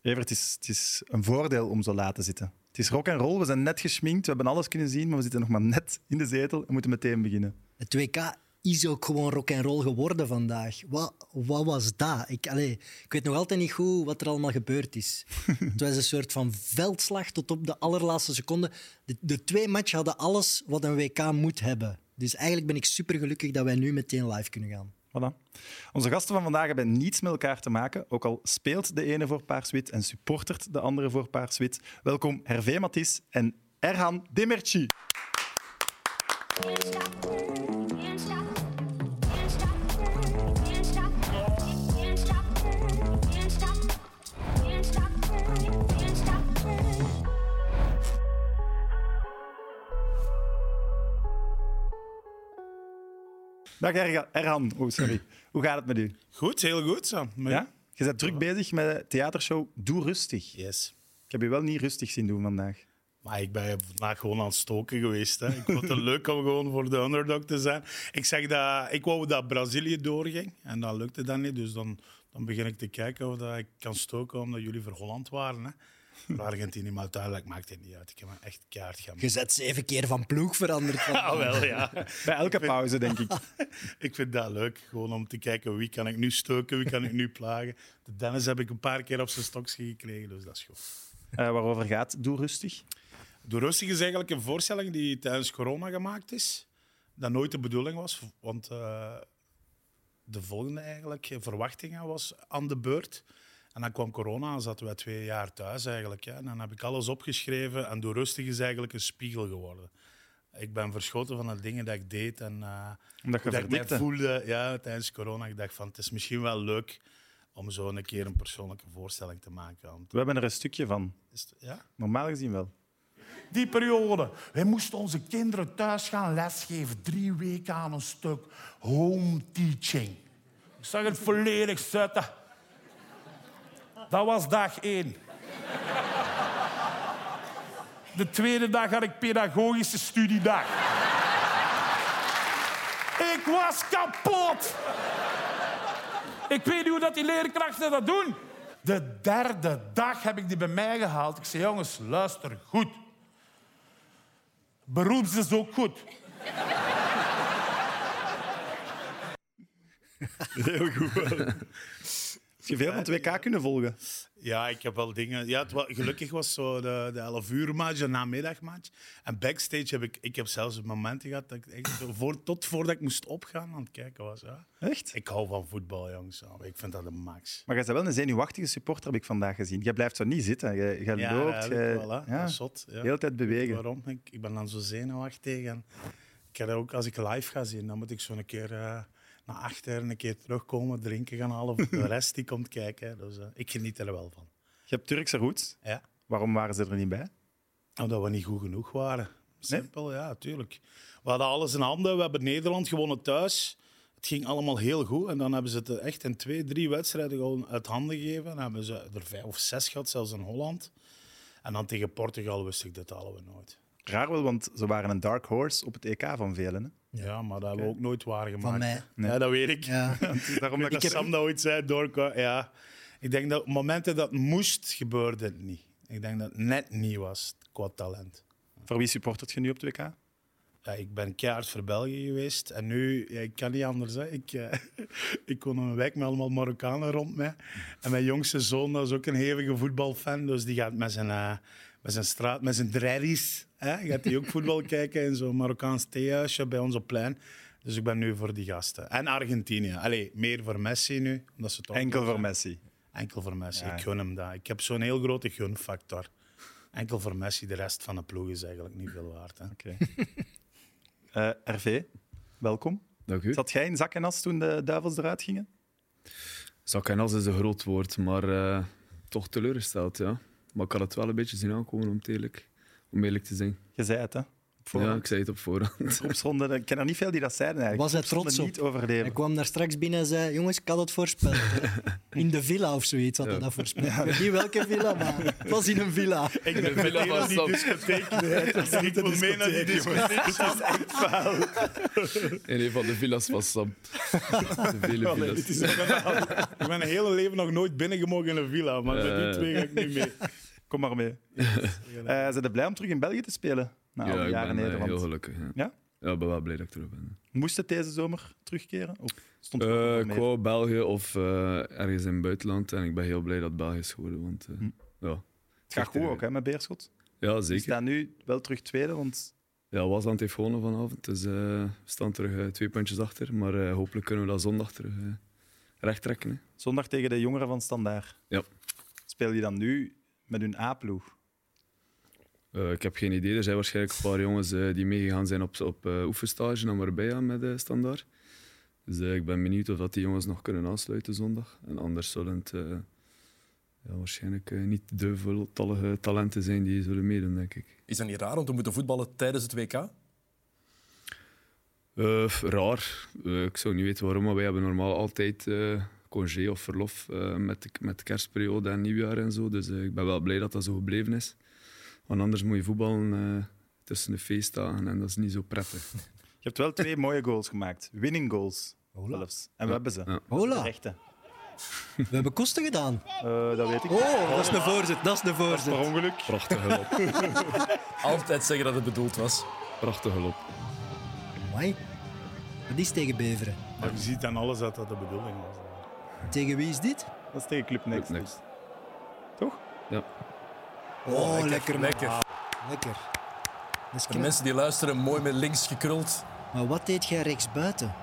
Evert, het is, het is een voordeel om zo laat te zitten. Het is rock en roll, we zijn net geschminkt, we hebben alles kunnen zien, maar we zitten nog maar net in de zetel en moeten meteen beginnen. Het WK is ook gewoon rock and roll geworden vandaag. Wat, wat was dat? Ik, allee, ik weet nog altijd niet goed wat er allemaal gebeurd is. Het was een soort van veldslag tot op de allerlaatste seconde. De, de twee matchen hadden alles wat een WK moet hebben. Dus eigenlijk ben ik super gelukkig dat wij nu meteen live kunnen gaan. Voilà. Onze gasten van vandaag hebben niets met elkaar te maken, ook al speelt de ene voor Paarswit en supportert de andere voor Paarswit. Welkom Hervé Matis en Erhan Demirci. Can't stop, can't stop, can't stop, can't stop, can't stop, can't stop, can't stop, can't stop. Dag Erga- Erhan, oh sorry. Hoe gaat het met u? Goed, heel goed, Sam. Maar- Ja? Je bent druk bezig met de theatershow Doe Rustig. Yes. Ik heb je wel niet rustig zien doen vandaag. Maar ik ben vandaag gewoon aan het stoken geweest. Hè. Ik vond het leuk om gewoon voor de underdog te zijn. Ik zeg dat ik wou dat Brazilië doorging en dat lukte dan niet. Dus dan, dan begin ik te kijken of dat ik kan stoken omdat jullie voor Holland waren. Hè. Voor Argentinië, maar uiteindelijk maakt het niet uit. Ik heb me echt kaart gaan. Je zet zeven keer van ploeg veranderd. Van, Ah, wel, ja. Bij elke pauze, denk ik. Ik vind dat leuk, gewoon om te kijken wie kan ik nu stoken, wie kan ik nu plagen. De Dennis heb ik een paar keer op zijn stokje gekregen, dus dat is goed. Eh, waarover gaat Doe Rustig? De Rustig is eigenlijk een voorstelling die tijdens corona gemaakt is. Dat nooit de bedoeling was, want eh, de volgende eigenlijk, verwachtingen, was aan de beurt. En dan kwam corona en zaten wij twee jaar thuis eigenlijk. Hè. En dan heb ik alles opgeschreven en Door Rustig is eigenlijk een spiegel geworden. Ik ben verschoten van de dingen dat ik deed en eh, Omdat je hoe dat ik mij verdikte. voelde ja, tijdens corona. Ik dacht van, het is misschien wel leuk om zo een keer een persoonlijke voorstelling te maken. Want, We hebben er een stukje van. is het- ja? Normaal gezien wel. Die periode. Wij moesten onze kinderen thuis gaan lesgeven. Drie weken aan een stuk. Home teaching. Ik zag het volledig zetten. Dat was dag één. De tweede dag had ik pedagogische studiedag. Ik was kapot. Ik weet niet hoe dat die leerkrachten dat doen. De derde dag heb ik die bij mij gehaald. Ik zei, jongens, luister goed. Beroeps is ook goed. Heel goed. Heb je veel van het WK kunnen volgen? Ja, ik heb wel dingen. Ja, het wa- gelukkig was zo de, de 11 uur match, de namiddagmatch. En backstage heb ik, ik heb zelfs momenten gehad dat ik echt zo voor, tot voordat ik moest opgaan aan het kijken was. Ja. Echt? Ik hou van voetbal, jongens. Ik vind dat de max. Maar jij bent wel een zenuwachtige supporter, heb ik vandaag gezien. Jij blijft zo niet zitten. Jij, jij Ja, loopt. eigenlijk jij- wel, hè. ja, Dat is zot, ja. De hele tijd bewegen. Waarom? Ik, ik ben dan zo zenuwachtig. En ik heb dat ook als ik live ga zien, dan moet ik zo een keer eh, naar achter, een keer terugkomen, drinken gaan halen. Of de rest die komt kijken. hè. Dus eh, ik geniet er wel van. Je hebt Turkse roots. Ja. Waarom waren ze er niet bij? Omdat we niet goed genoeg waren. Simpel, ja, tuurlijk. We hadden alles in handen. We hebben Nederland gewonnen thuis. Het ging allemaal heel goed. En dan hebben ze het echt in twee, drie wedstrijden gewoon uit handen gegeven. Dan hebben ze er vijf of zes gehad, zelfs in Holland. En dan tegen Portugal wist ik dat halen we nooit. Raar wel, want ze waren een dark horse op het EK van velen. Hè? Ja, maar dat hebben we ook nooit waargemaakt. Van mij. Ja, dat weet ik. ja. Het is Daarom dat Ik heb Sam dat ooit zei, doorko. Ja. Ik denk dat op momenten dat het moest, gebeurde het niet. Ik denk dat het net niet was, qua talent. Voor wie supportert je nu op het WK? Ja, ik ben keihard voor België geweest. En nu, ja, ik kan niet anders. Hè. Ik, eh, ik kon een wijk met allemaal Marokkanen rond mij. En mijn jongste zoon dat is ook een hevige voetbalfan. Dus die gaat met zijn, eh, met zijn straat, met zijn drerries. Hè, gaat hij ook voetbal kijken in zo'n Marokkaans theehuisje bij ons op plein. Dus ik ben nu voor die gasten. En Argentinië. Allee, meer voor Messi nu. Omdat ze toch Enkel voor Messi. Enkel voor Messi. Ik gun hem dat. Ik heb zo'n heel grote gunfactor. Enkel voor Messi. De rest van de ploeg is eigenlijk niet veel waard. Hè. Oké. Eh, RV, welkom. Dank u. Zat jij in zak en as toen de duivels eruit gingen? Zak en as is een groot woord, maar eh, toch teleurgesteld, ja. Maar ik had het wel een beetje zien aankomen, om het eerlijk, om eerlijk te zijn. Je zei het, hè? voor Ja, ik zei het op voorhand. groepsronde. Ik ken er niet veel die dat zeiden eigenlijk. Was hij trots Groepsronde op? niet overleven. Hij kwam daar straks binnen en zei: Jongens, ik had het voorspeld. In de villa of zoiets had hij dat voorspeld. Ik weet niet welke villa, maar het was in een villa. Ik ben villa meteen van naar die Sam. discotheek. Nee, dat is niet ik wil mee naar die discotheek. Dat is echt vuil. In een van de villas van Sam. De vele Allee, dit villas. is- ik ben al- ik ben mijn hele leven nog nooit binnengemogen in een villa, maar met die Eh. twee ga ik niet mee. Kom maar mee. Eh zijn er blij om terug in België te spelen? Na al Ja, die ik jaren ben eh, Nederland. heel gelukkig. Ja? Ja? Ja, ik ben wel blij dat ik terug ben. Moest het deze zomer terugkeren? Of stond er Eh, nog Ik meer? wou België of eh, ergens in het buitenland. En ik ben heel blij dat België is geworden. Want, eh, ja. Het gaat goed ook hè, met Beerschot. Ja, Die eh, zeker. staan nu wel terug tweede, want Ja, Wasland heeft gewonnen vanavond. Dus eh, we staan terug eh, twee puntjes achter. Maar eh, hopelijk kunnen we dat zondag terug eh, recht trekken. hè. zondag tegen de jongeren van Standaard. Ja. Speel je dan nu met hun A-ploeg? Eh, ik heb geen idee. Er zijn waarschijnlijk een paar jongens eh, die meegegaan zijn op, op eh, oefenstage naar Marbella met eh Standaard. Dus eh, ik ben benieuwd of dat die jongens nog kunnen aansluiten zondag. En anders zullen het eh, ja, waarschijnlijk eh, niet de voltallige talenten zijn die zullen meedoen, denk ik. Is dat niet raar om te moeten voetballen tijdens het Oh, WK? Eh, f- raar. Eh, ik zou niet weten waarom, maar wij hebben normaal altijd eh congé of verlof eh, met, de, met de kerstperiode en nieuwjaar en zo. Dus eh, ik ben wel blij dat dat zo gebleven is. Want anders moet je voetballen eh, tussen de feestdagen en dat is niet zo prettig. Je hebt wel twee mooie goals gemaakt. Winning goals zelfs. En we hebben ze. De Hola, rechte. we hebben kosten gedaan. Eh, dat weet ik. Oh, dat is de voorzet, dat is de voorzet. ongeluk. Prachtige lop. Altijd zeggen dat het bedoeld was. Prachtige lop. Amai. Dat is tegen Beveren. Maar je ziet aan alles dat dat de bedoeling was. Tegen wie is dit? Dat is tegen Club Next. Next. dus. Oh, lekker, man. Lekker. Lekker. Dat is Voor de knap. mensen die luisteren, mooi met links gekruld. Maar wat deed jij rechts buiten?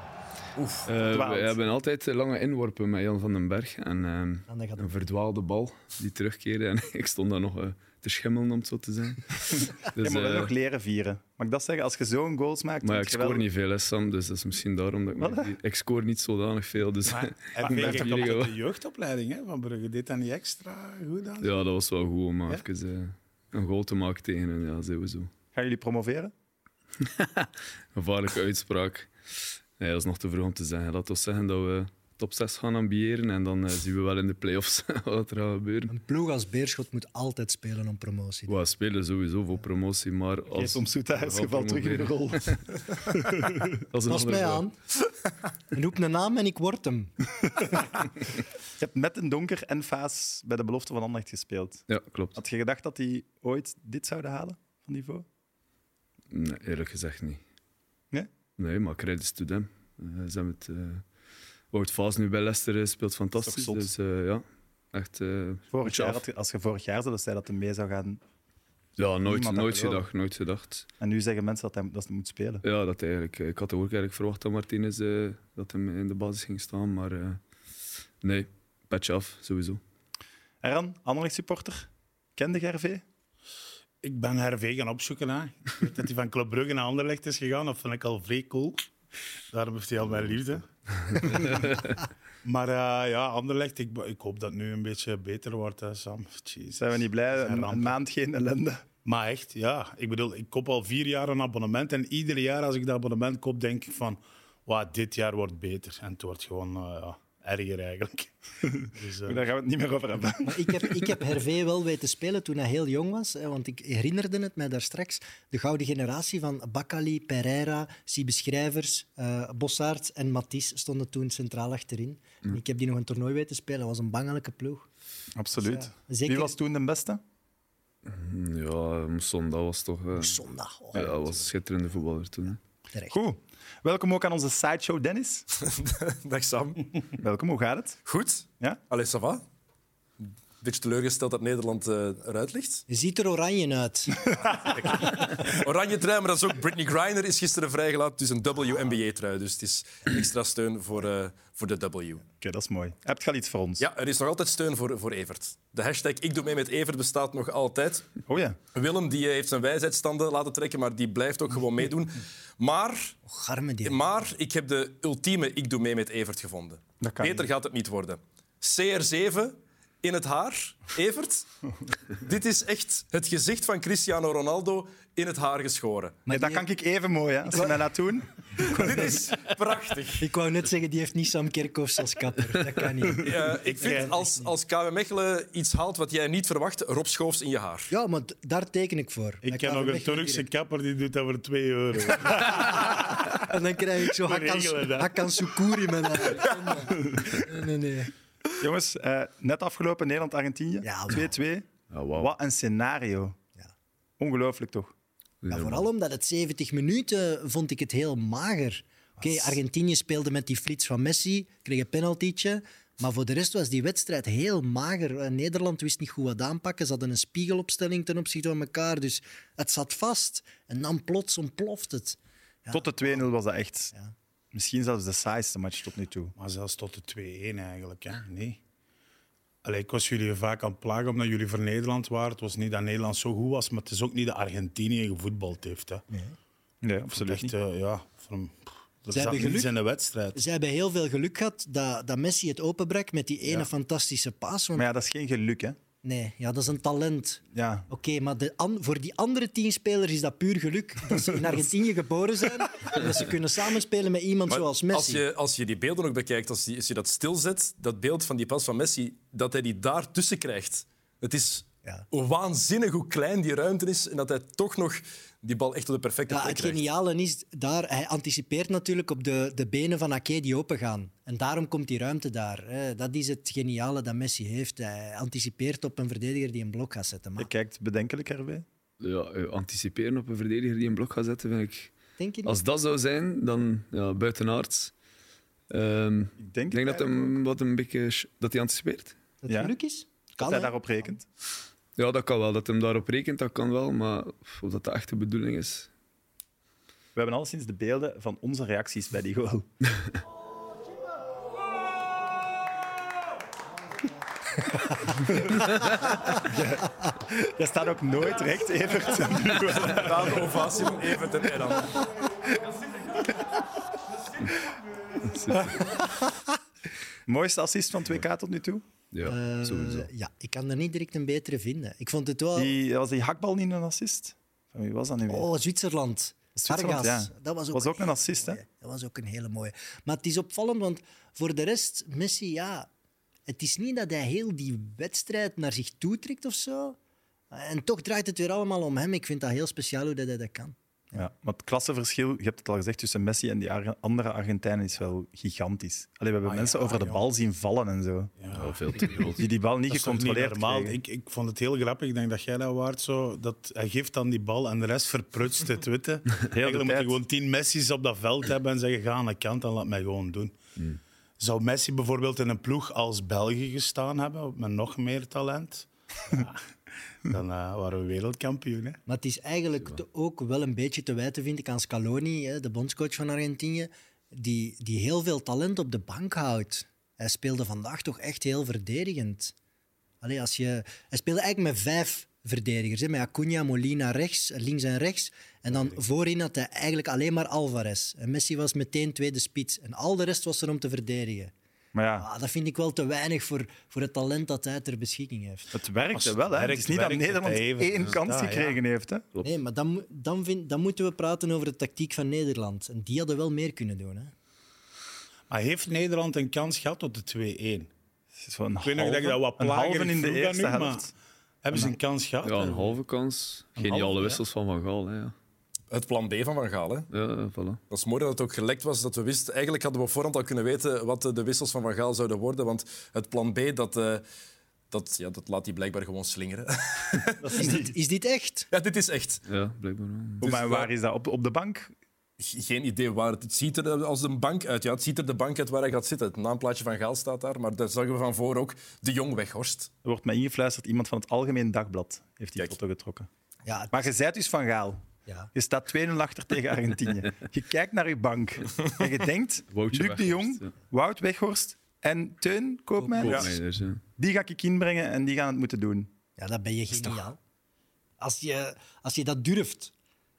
Oef. Eh, we Verdwaald. hebben altijd eh, lange inworpen met Jan van den Berg. En ehm, En dan gaat een verdwaalde bal die terugkeerde. En ik stond daar nog eh, te schimmelen, om het zo te zijn. Je Dus, moet wel eh, nog leren vieren. Mag ik dat zeggen? Als je zo'n goals maakt... Maar ja, moet ik je scoor wel- niet veel, hè, Sam. Dus dat is misschien daarom dat ik... Wat? me- Ik scoor niet zodanig veel, dus... Maar ik heb merk je dat jullie op wel- de jeugdopleiding hè, van Brugge deed dat niet extra goed aan? Ja, dat was wel goed om Ja? even eh, een goal te maken tegen hen. Ja, sowieso. Gaan jullie promoveren? Gevaarlijke uitspraak. Nee, dat is nog te vroeg om te zeggen. Laten we zeggen dat we top 6 gaan ambiëren en dan eh, zien we wel in de play-offs wat er gaat gebeuren. Een ploeg als Beerschot moet altijd spelen om promotie. We spelen sowieso voor promotie, maar als... Kees om Soetaars we gaan geval terug in de rol. Dat is een Pas ander mij verhaal. aan. Roep een naam en ik word hem. Je hebt met een donker en Faas bij de belofte van Anderlecht gespeeld. Ja, klopt. Had je gedacht dat die ooit dit zouden halen van niveau? Nee, eerlijk gezegd niet. Nee? Nee, maar credits to them. Eh, ze hebben het... eh Wout Vaas nu bij Leicester eh, speelt fantastisch. zot? Dus eh, ja, echt... eh, Vorig hoedje jaar, af. had je- als je vorig jaar zelfs zei dat hij mee zou gaan. Ja, nooit, had nooit geloofd. gedacht, nooit gedacht. En nu zeggen mensen dat hij, dat hij moet spelen. Ja, dat eigenlijk. eh, Ik had ook eigenlijk verwacht dat Martinez eh, dat hem in de basis ging staan, maar eh, nee, patch af, sowieso. Eran, Anderlecht supporter. Kende je RV? Ik ben Hervé gaan opzoeken. Hè. Ik weet dat hij van Club Brugge naar Anderlecht is gegaan. Dat vind ik al vrij cool. Daarom heeft hij al mijn liefde. maar eh, ja, Anderlecht, ik, ik hoop dat het nu een beetje beter wordt, hè, Sam. Jezus. Zijn we niet blij? een Een, ramp. een maand geen ellende. Maar echt, ja. Ik bedoel, ik koop al vier jaar een abonnement. En ieder jaar als ik dat abonnement koop, denk ik van... "Wauw, dit jaar wordt beter. En het wordt gewoon eh, ja, erger eigenlijk. dus, eh, Daar gaan we het niet meer over hebben. Maar ik heb, ik heb Hervé wel weten spelen toen hij heel jong was. hè, Want ik herinnerde het mij daar straks. De gouden generatie van Bakali, Pereira, Siebe Schrijvers, eh Bossaert en Matisse stonden toen centraal achterin. Mm. En Ik heb die nog een toernooi weten spelen. Dat was een bangelijke ploeg. Absoluut. Ja, zeker. Wie was toen de beste? Ja, Mousson, dat was toch... eh, Zondag. oh, ja, dat was een schitterende voetballer toen. hè. terecht. Goed. Welkom ook aan onze sideshow, Dennis. Dag Sam. Welkom, hoe gaat het? Goed? Ja? Allee, ça va? Beetje teleurgesteld dat Nederland eh, eruit ligt. Je ziet er oranje uit. Oranje trui, maar dat is ook Britney Griner is gisteren vrijgelaten. Het is een WNBA-trui, dus het is extra steun voor, eh, voor de W. Oké, dat is mooi. Heb je al iets voor ons? Ja, er is nog altijd steun voor, voor Evert. De hashtag Ik doe mee met Evert bestaat nog altijd. Oh ja. Willem die eh, heeft zijn wijsheidsstanden laten trekken, maar die blijft ook gewoon meedoen. Maar, Och, arme die. maar ik heb de ultieme Ik doe mee met Evert gevonden. Dat kan Beter niet. gaat het niet worden. CR7 in het haar, Evert. Dit is echt het gezicht van Cristiano Ronaldo in het haar geschoren. Ja, dat kan ik even mooi, hè, als je mij laat doen. Dit is prachtig. Ik wou net zeggen, die heeft niet Sam Kerkhoffs als kapper. Dat kan niet. Eh, ik vind, als, als KW Mechelen iets haalt wat jij niet verwacht, Rob Schoofs in je haar. Ja, maar d- daar teken ik voor. Ik Dat ken kan nog voor een mij Turkse direct. kapper die doet dat voor 2 euro. En dan krijg ik zo Hakan, regelen dat. Hakan Sukur in mijn haar. Nee, nee, nee. Jongens, eh, net afgelopen Nederland-Argentinië. Ja, wauw. 2-2. Ja, wauw. Wat een scenario. Ja. Ongelooflijk toch? Maar vooral omdat het 70 minuten vond ik het heel mager. Oké, Argentinië speelde met die flits van Messi, kreeg een penaltietje. Maar voor de rest was die wedstrijd heel mager. Eh, Nederland wist niet goed wat aanpakken. Ze hadden een spiegelopstelling ten opzichte van elkaar. Dus het zat vast. En dan plots ontploft het. Tot de 2-0 was dat echt misschien zelfs de saaiste match tot nu toe. Maar zelfs tot de 2-1 eigenlijk. Hè? Nee. Allee, ik was jullie vaak aan het plagen omdat jullie voor Nederland waren. Het was niet dat Nederland zo goed was, maar het is ook niet dat Argentinië gevoetbald heeft. Hè. Nee, absoluut Echt, niet. eh, ja, voor een, er hebben zat niets geluk. in de wedstrijd. Ze hebben heel veel geluk gehad dat, dat Messi het openbrak met die ene fantastische paas. Want... Maar ja, dat is geen geluk, hè. Nee, ja, dat is een talent. Ja. Oké, maar de an- voor die andere tien spelers is dat puur geluk. Dat ze in Argentinië geboren zijn en dat ze kunnen samenspelen met iemand Maar zoals Messi. Als je, als je die beelden ook bekijkt, als je, als je dat stilzet, dat beeld van die pas van Messi, dat hij die daar tussen krijgt. Het is Ja. waanzinnig hoe klein die ruimte is en dat hij toch nog die bal echt op de perfecte Ja, plek het krijgt. geniale is, daar, hij anticipeert natuurlijk op de, de benen van Ake die opengaan. En daarom komt die ruimte daar. hè. Dat is het geniale dat Messi heeft. Hij anticipeert op een verdediger die een blok gaat zetten. Maar Je kijkt bedenkelijk erbij. Ja, eh, anticiperen op een verdediger die een blok gaat zetten, vind ik... denk je niet? Als dat zou zijn, dan ja, buitenaards. Ehm, Ik ik denk, denk dat hem wat een beetje... sch- Dat hij anticipeert. dat het ja. geluk is? dat Kan, hij hè? daarop rekent. Ja, dat kan wel. Dat hem daarop rekent, dat kan wel. Maar of dat de echte bedoeling is... We hebben al sinds de beelden van onze reacties bij die goal. Ja, Jij staat ook nooit recht, Evert. Na de ovatie van Evert en Eran. Mooiste assist van 2K tot nu toe? Ja, Eh, sowieso. ja, ik kan er niet direct een betere vinden. Ik vond het wel... Die, was die hakbal niet een assist? Van wie was dat nu weer? Oh, Zwitserland. Zwitserland, Vargas. ja. Dat was ook, Was ook een assist, hè? mooie. Dat was ook een hele mooie. Maar het is opvallend, want voor de rest, Messi, ja... Het is niet dat hij heel die wedstrijd naar zich toe trekt of zo. En toch draait het weer allemaal om hem. Ik vind dat heel speciaal hoe dat hij dat kan. Ja, maar het klassenverschil, je hebt het al gezegd, tussen Messi en die Ar- andere Argentijnen is wel gigantisch. Allee, we Ah, hebben mensen over de bal zien vallen en zo. Ja, veel te groot. Die die bal niet Dat is toch niet gecontroleerd normaal. kregen. Ik, ik vond het heel grappig. Ik denk dat jij dat waard zo. Dat hij geeft dan die bal en de rest verprutst het witte. Eigenlijk moet je tijd. gewoon tien Messi's op dat veld hebben en zeggen: ga aan de kant en laat mij gewoon doen. Zou Messi bijvoorbeeld in een ploeg als België gestaan hebben, met nog meer talent, ja, dan eh, waren we wereldkampioen. Hè? Maar het is eigenlijk te- ook wel een beetje te wijten, vind ik, aan Scaloni, hè, de bondscoach van Argentinië, die, die heel veel talent op de bank houdt. Hij speelde vandaag toch echt heel verdedigend. Allee, als je... Hij speelde eigenlijk met vijf verdedigers. Hè, met Acuna, Molina rechts, links en rechts. En dan voorin had hij eigenlijk alleen maar Alvarez. En Messi was meteen tweede spits. En al de rest was er om te verdedigen. Maar ja, Ah, dat vind ik wel te weinig voor, voor het talent dat hij ter beschikking heeft. het werkte het wel. Hè. Het werkt, is niet dat werkt het Nederland even. één Dus kans dat, ja. gekregen heeft. Hè. Nee, maar dan, mo- dan, vind, dan moeten we praten over de tactiek van Nederland. En die hadden wel meer kunnen doen. Hè? Maar heeft Nederland een kans gehad tot de 2-1? Het is wel een Ik weet nog dat ik halve- dat wat een halve plagerig in de vroeg aan eerste u, maar helft. Hebben ze een kans gehad? Ja, een halve kans. Geniale halve, ja. wissels van Van Gaal. Hè, ja. Het plan B van Van Gaal. Hè? ja, voilà. Dat is mooi dat het ook gelekt was, dat we wisten... Eigenlijk hadden we op voorhand al kunnen weten wat eh, de wissels van Van Gaal zouden worden, want het plan B, dat, eh, dat, ja, dat laat hij blijkbaar gewoon slingeren. Is, dit, is dit echt? ja, dit is echt. Ja, blijkbaar wel. Hoe, maar Dus waar dat- is dat? Op, op de bank? Ge- Geen idee waar. Het ziet er als een bank uit. Ja, het ziet er de bank uit waar hij gaat zitten. Het naamplaatje van Gaal staat daar, maar daar zagen we van voor ook de Jong Weghorst. Er wordt mij ingefluisterd, iemand van het Algemeen Dagblad heeft die Kijk. foto getrokken. Ja, het- Maar je zijt dus Van Gaal. ja. Je staat 2-0 achter tegen Argentinië. Je kijkt naar je bank en je denkt... Woutje Luc de Jong, Weghorst, ja. Wout Weghorst en Teun Koopman, Koopmeiners, ja. die ga ik inbrengen en die gaan het moeten doen. ja dat ben je geniaal. Als je, als je dat durft.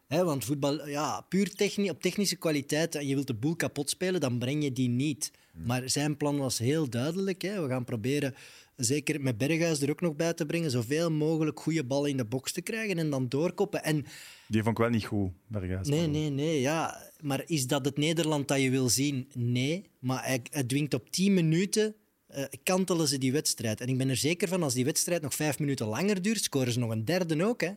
Hè, want voetbal, ja, puur techni op technische kwaliteit. En je wilt de boel kapot spelen, dan breng je die niet. Maar zijn plan was heel duidelijk. Hè. We gaan proberen zeker met Berghuis er ook nog bij te brengen, zoveel mogelijk goede ballen in de box te krijgen en dan doorkoppen. En Die vond ik wel niet goed, Berghuis. nee, nee, nee, ja. Maar is dat het Nederland dat je wil zien? Nee. Maar hij, hij dwingt op 10 minuten, eh, kantelen ze die wedstrijd. En ik ben er zeker van, als die wedstrijd nog vijf minuten langer duurt, scoren ze nog een derde ook, hè.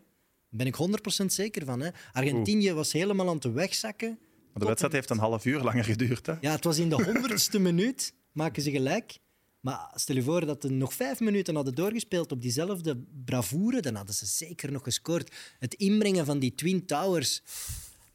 Daar ben ik 100% zeker van. Hè. Argentinië was helemaal aan het wegzakken. Maar de wedstrijd heeft een half uur langer geduurd. Hè? Ja, het was in de honderdste minuut, maken ze gelijk. Maar stel je voor dat ze nog vijf minuten hadden doorgespeeld op diezelfde bravoure, dan hadden ze zeker nog gescoord. Het inbrengen van die Twin Towers,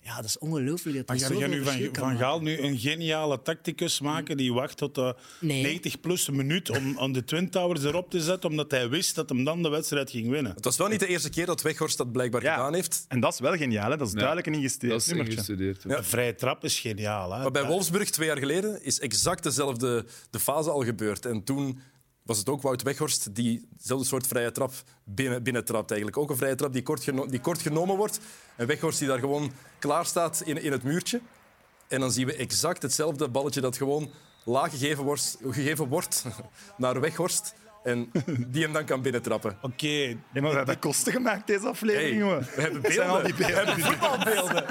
ja, dat is ongelooflijk. Dat Maar dat ga je zoveel nu verschil van, kan van maken. Gaal nu een geniale tacticus maken die wacht tot de Nee. 90 plus een minuut om, om de Twin Towers erop te zetten, omdat hij wist dat hem dan de wedstrijd ging winnen? Het was wel niet de eerste keer dat Weghorst dat blijkbaar Ja. gedaan heeft. En dat is wel geniaal, hè? dat is Ja. duidelijk een ingesteerd Dat is nummertje. ingestudeerd. hè. Een vrije trap is geniaal. Hè? Maar bij Wolfsburg twee jaar geleden is exact dezelfde de fase al gebeurd. En toen was het ook Wout Weghorst die dezelfde soort vrije trap binnen, binnentrapt. Eigenlijk. Ook een vrije trap die kort, geno- die kort genomen wordt. En Weghorst die daar gewoon klaar staat in, in het muurtje. En dan zien we exact hetzelfde balletje dat gewoon laag gegeven wordt, gegeven wordt naar Weghorst. En die hem dan kan binnentrappen. Oké, Ja, maar we hebben kosten gemaakt deze aflevering, Hey, jongen. we hebben Het zijn al die beelden. beelden. Voetbalbeelden.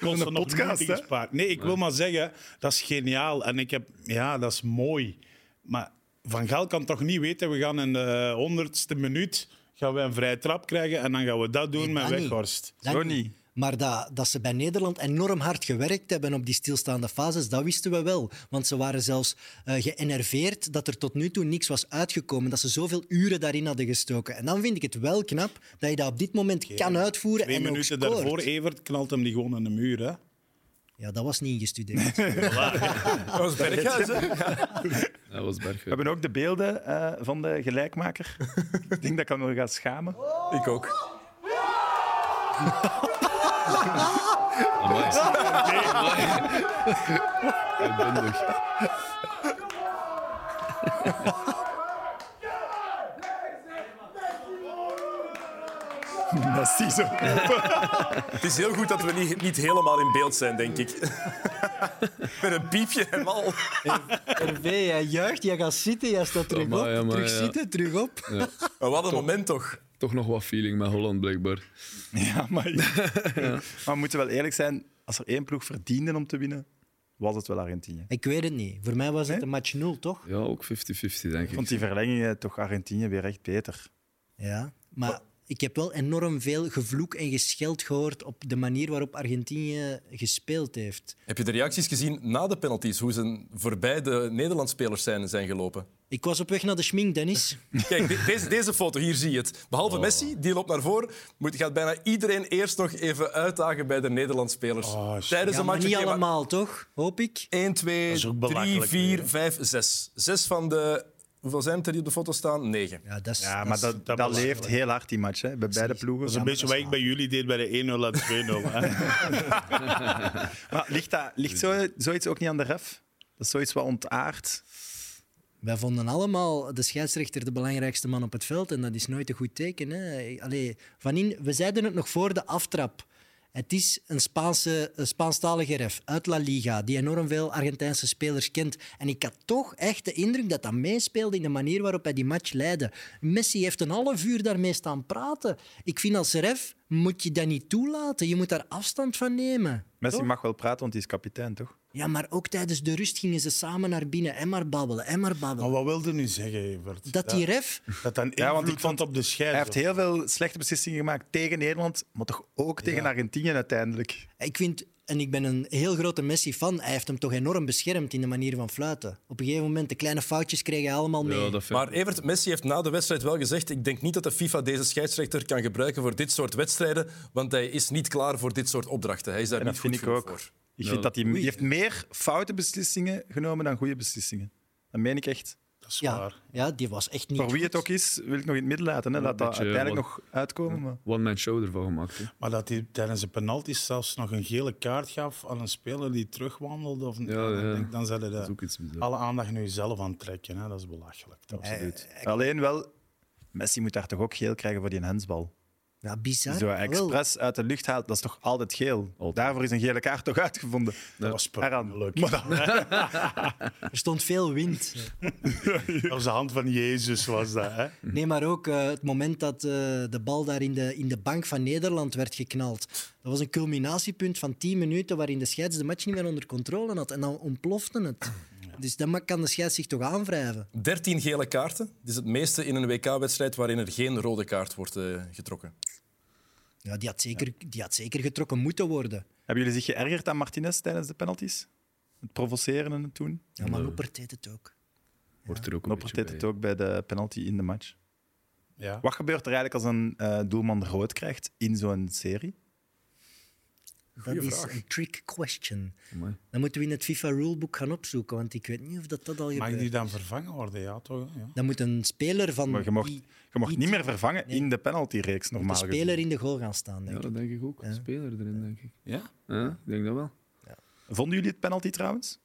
kost een nog podcast, moeite hè? gespaard. Nee, ik wil maar zeggen, dat is geniaal. En ik heb, ja, dat is mooi. Maar Van Gaal kan toch niet weten, we gaan in de honderdste minuut gaan we een vrije trap krijgen en dan gaan we dat doen Nee, met dat niet. Weghorst. Dat Zo niet. niet. Maar dat, dat ze bij Nederland enorm hard gewerkt hebben op die stilstaande fases, dat wisten we wel. Want ze waren zelfs eh geënerveerd dat er tot nu toe niks was uitgekomen. Dat ze zoveel uren daarin hadden gestoken. En dan vind ik het wel knap dat je dat op dit moment kan uitvoeren Twee en ook minuten scoort. daarvoor, Evert knalt hem die gewoon aan de muur. Hè? Ja, dat was niet ingestudeerd. Dat was Berghuis, hè? Dat was Berghuis. We hebben ook de beelden eh, van de gelijkmaker. ik denk dat ik me ga schamen. Ik ook. Amai. Amai. Uitbundig. Dat is die zo. Het is heel goed dat we niet, niet helemaal in beeld zijn, denk ik. Met een piepje en al. Hervé, jij juicht, jij gaat zitten, jij staat terug Amai, op. amai, terug ja. zitten, terug op. Maar wat een moment toch? Toch nog wat feeling met Holland, blijkbaar. Ja, Ah, maar... maar we moeten wel eerlijk zijn. Als er één ploeg verdiende om te winnen, was het wel Argentinië. Ik weet het niet. Voor mij was het Nee? een match 0, toch? Ja, ook 50-50, denk Ik vond ik. die verlengingen toch Argentinië weer echt beter. Ja, maar ik heb wel enorm veel gevloek en gescheld gehoord op de manier waarop Argentinië gespeeld heeft. Heb je de reacties gezien na de penalties? Hoe ze voorbij de Nederlandspelers zijn, zijn gelopen? Ik was op weg naar de schmink, Dennis. Kijk, de- deze, deze foto, hier zie je het. Behalve Oh. Messi, die loopt naar voren. Moet, gaat bijna iedereen eerst nog even uitdagen bij de Nederlandspelers. Oh, Tijdens Ja, maar een match. niet oké, maar allemaal, toch? Hoop ik. 1, 2, is ook 3, belachelijk 4, weer. 5, 6. Zes van de... Hoeveel zijn het er die op de foto staan? 9. Ja, dat is, Ja, maar dat, dat, dat was- leeft heel hard, die match, hè, bij beide ploegen. Dat is een beetje wat ik bij jullie deed bij de 1-0 en 2-0. hè. Maar ligt, dat, ligt zo, zoiets ook niet aan de ref? Dat is zoiets wat ontaard. Wij vonden allemaal de scheidsrechter de belangrijkste man op het veld. En dat is nooit een goed teken. Hè? Allee, van in, we zeiden het nog voor de aftrap. Het is een, Spaanse, een Spaanstalige ref uit La Liga die enorm veel Argentijnse spelers kent. En ik had toch echt de indruk dat dat meespeelde in de manier waarop hij die match leidde. Messi heeft een half uur daarmee staan praten. Ik vind als ref moet je dat niet toelaten. Je moet daar afstand van nemen. Messi mag wel praten, want die is kapitein, toch? Ja, maar ook tijdens de rust gingen ze samen naar binnen en maar babbelen en maar Maar babbelen. wat wilde nu zeggen, Evert? Dat die ref Dat dan Ja, want ik invloed had op de scheids. Hij heeft heel veel slechte beslissingen gemaakt tegen Nederland, maar toch ook tegen Argentinië uiteindelijk. Ik vind, en ik ben een heel grote Messi-fan, hij heeft hem toch enorm beschermd in de manier van fluiten. Op een gegeven moment, de kleine foutjes kreeg hij allemaal mee. Ja, dat vind Maar Evert, Messi heeft na de wedstrijd wel gezegd ik denk niet dat de FIFA deze scheidsrechter kan gebruiken voor dit soort wedstrijden, want hij is niet klaar voor dit soort opdrachten. Hij is daar En niet dat vind goed ik genoeg ook. voor. Ik vind dat hij, die heeft meer foute beslissingen genomen dan goede beslissingen. Dat meen ik echt. Dat is ja, waar. ja, die was echt niet Voor wie goed. het ook is, wil ik nog in het midden laten. Hè. Laat dat beetje, uiteindelijk wat- nog uitkomen. Maar... One-man show ervan gemaakt. hè. Maar dat hij tijdens de penalties zelfs nog een gele kaart gaf aan een speler die terugwandelde. Of, dan, ja. denk ik, dan zeiden Dat is ook de, iets bizar. alle aandacht nu zelf aan het trekken. Hè. Dat is belachelijk. Dat is- Alleen wel, Messi moet daar toch ook geel krijgen voor die hensbal. Ja, bizar. Zo maar wel. expres uit de lucht haalt, dat is toch altijd geel? Altijd. Daarvoor is een gele kaart toch uitgevonden? Dat was per Eraan. ongeluk. Maar dat- Er stond veel wind. Dat was de hand van Jezus, was dat. Hè? Nee, maar ook eh, het moment dat eh, de bal daar in de, in de bank van Nederland werd geknald. Dat was een culminatiepunt van 10 minuten waarin de scheids de match niet meer onder controle had. En dan ontplofte het. Dus dan ma- kan de scheids zich toch aanwrijven. 13 gele kaarten. Dit is het meeste in een WK-wedstrijd waarin er geen rode kaart wordt eh, getrokken. Ja, die, had zeker, die had zeker getrokken moeten worden. Hebben jullie zich geërgerd aan Martinez tijdens de penalties? Het provoceren en het doen? Ja, maar Noppert deed het ook. Wordt er ook een Noppert beetje deed het bij. ook bij de penalty in de match. Ja. Wat gebeurt er eigenlijk als een eh, doelman rood krijgt in zo'n serie? dat is een trick question. Amai. Dan moeten we in het FIFA rulebook gaan opzoeken, want ik weet niet of dat, dat al Mag gebeurt. die dan vervangen worden? Ja, toch? Ja. Dan moet een speler van Maar je mocht, die- je mocht die- niet meer vervangen Nee. in de penaltyreeks, de normaal speler gezien. in de goal gaan staan, denk Ja, ik. dat denk ik ook. Een speler erin, denk ik. ja? Ja, ik denk dat wel. Vonden jullie het penalty trouwens?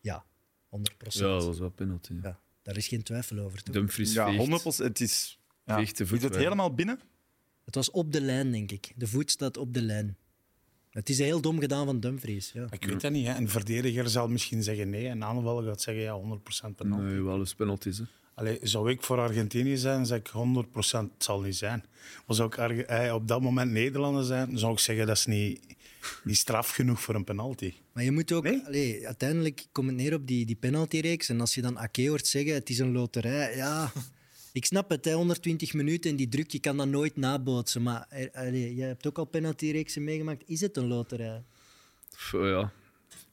Ja, 100 Ja, dat was wel penalty. Ja. Ja, daar is geen twijfel over. Toch? Dumfries Ja, veegt. 100 Het is... Ja. Is Veegt de voet het weg. helemaal binnen? Het was op de lijn, denk ik. De voet staat op de lijn. Het is heel dom gedaan van Dumfries. Ja. Ik weet dat niet. Hè. Een verdediger zal misschien zeggen nee. En een aanvaller gaat zeggen ja, 100% penalty. Nee, wel eens penalties. Hè. Allee, zou ik voor Argentinië zijn, zeg ik 100% het zal niet zijn. Maar zou ik Arge- eh, op dat moment Nederlander zijn, zou ik zeggen dat is niet, niet straf genoeg voor een penalty. Maar je moet ook... Nee? allee, uiteindelijk komt het neer op die, die penaltyreeks. En als je dan Ake hoort zeggen, het is een loterij. Ja, ik snap het. Hè, 120 minuten en die druk, je kan dat nooit nabootsen. Maar er- allee, jij hebt ook al penaltyreeksen meegemaakt. Is het een loterij? Pff, ja.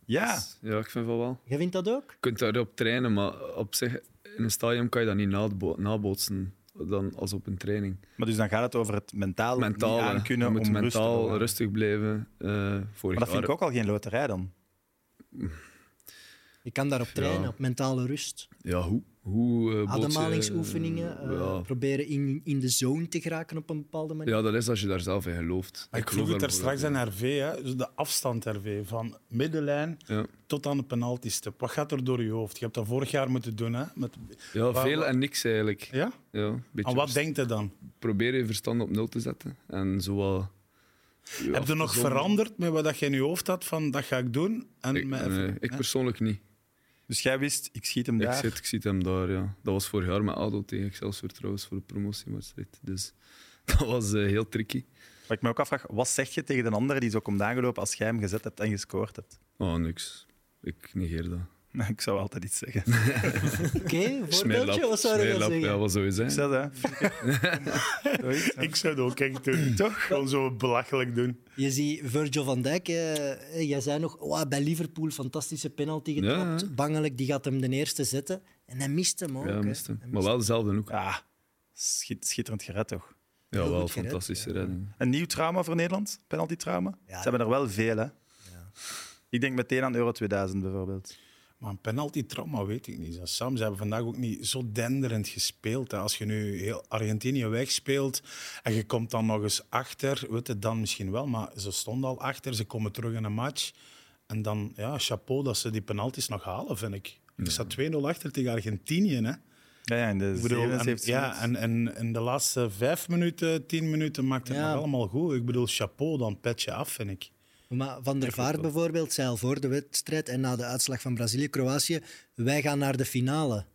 Ja. ja, ik vind van wel. Jij vindt dat ook? Je kunt daarop trainen, maar op zich, in een stadion kan je dat niet nabo- nabootsen dan als op een training. Maar dus dan gaat het over het mentaal, Mentaal, niet hè. aan kunnen je om moet rust te mentaal bewaren. rustig blijven. eh vorig Maar dat vind jaar- ik ook al geen loterij dan. Je kan daarop trainen, Ja. op mentale rust. Ja, hoe? hoe eh, bots je- Ademhalingsoefeningen. eh, ja. Proberen in, in de zone te geraken op een bepaalde manier. ja, dat is als je daar zelf in gelooft. Maar ik, geloof vroeg het daar er straks bijvoorbeeld aan RV, hè, dus de afstand RV, van middenlijn Ja. tot aan de penaltystip. Wat gaat er door je hoofd? Je hebt dat vorig jaar moeten doen. Hè? Met, in. Ja, Waar- veel en niks eigenlijk. Ja. ja? een beetje En wat verst- denkt je dan? Probeer je verstand op nul te zetten. En zo wat... ja, Heb je nog gezond- veranderd met wat dat je in je hoofd had van dat ga ik doen? En Ik, met- nee, ik persoonlijk niet. Dus jij wist, ik schiet hem Ik, daar. zit, ik zie hem daar, ja. Dat was vorig jaar met ADO tegen Excelsior trouwens voor de promotiewedstrijd. Dus dat was eh, heel tricky. Wat ik me ook afvraag, wat zeg je tegen een andere die zo komt aangelopen als jij hem gezet hebt en gescoord hebt? Oh, niks. Ik negeer dat. Nou, Ik zou altijd iets zeggen. Oké, voorbeeldje? Wat zou je dan Smeerlap, zeggen? ja, wat zou je Ik zeggen? zeg dat, hè. Zoiets, hè. Ik zou het ook echt doen. Toch? Gewoon zo belachelijk doen. Je ziet Virgil van Dijk, eh, eh, jij zei nog, "Wauw, bij Liverpool fantastische penalty getrapt. Ja, hè? Bangelijk, die gaat hem de eerste zetten. En hij mist hem ook. Ja, hè. mist hem. Maar wel dezelfde hoek. Ja, Ah, schiet- schitterend gered toch? heel wel goed gered, fantastische redding. Een nieuw trauma voor Nederland, penalty trauma. Ze hebben er wel veel, hè. Ik denk meteen aan Euro 2000 bijvoorbeeld. Maar een penalty trauma weet ik niet. Sam, ze hebben vandaag ook niet zo denderend gespeeld. hè. Als je nu heel Argentinië wegspeelt en je komt dan nog eens achter, weet het dan misschien wel, maar ze stonden al achter, ze komen terug in een match. En dan, ja, chapeau dat ze die penalties nog halen, vind ik. Er staat 2-0 achter tegen Argentinië, hè. Ja, ja in de Ik bedoel, en, 77 ja, en, en in de laatste vijf minuten, tien minuten maakt het Ja. nog allemaal goed. Ik bedoel, chapeau, dan petje af, vind ik. Maar Van der Vaart bijvoorbeeld zei al voor de wedstrijd en na de uitslag van Brazilië-Kroatië, wij gaan naar de finale.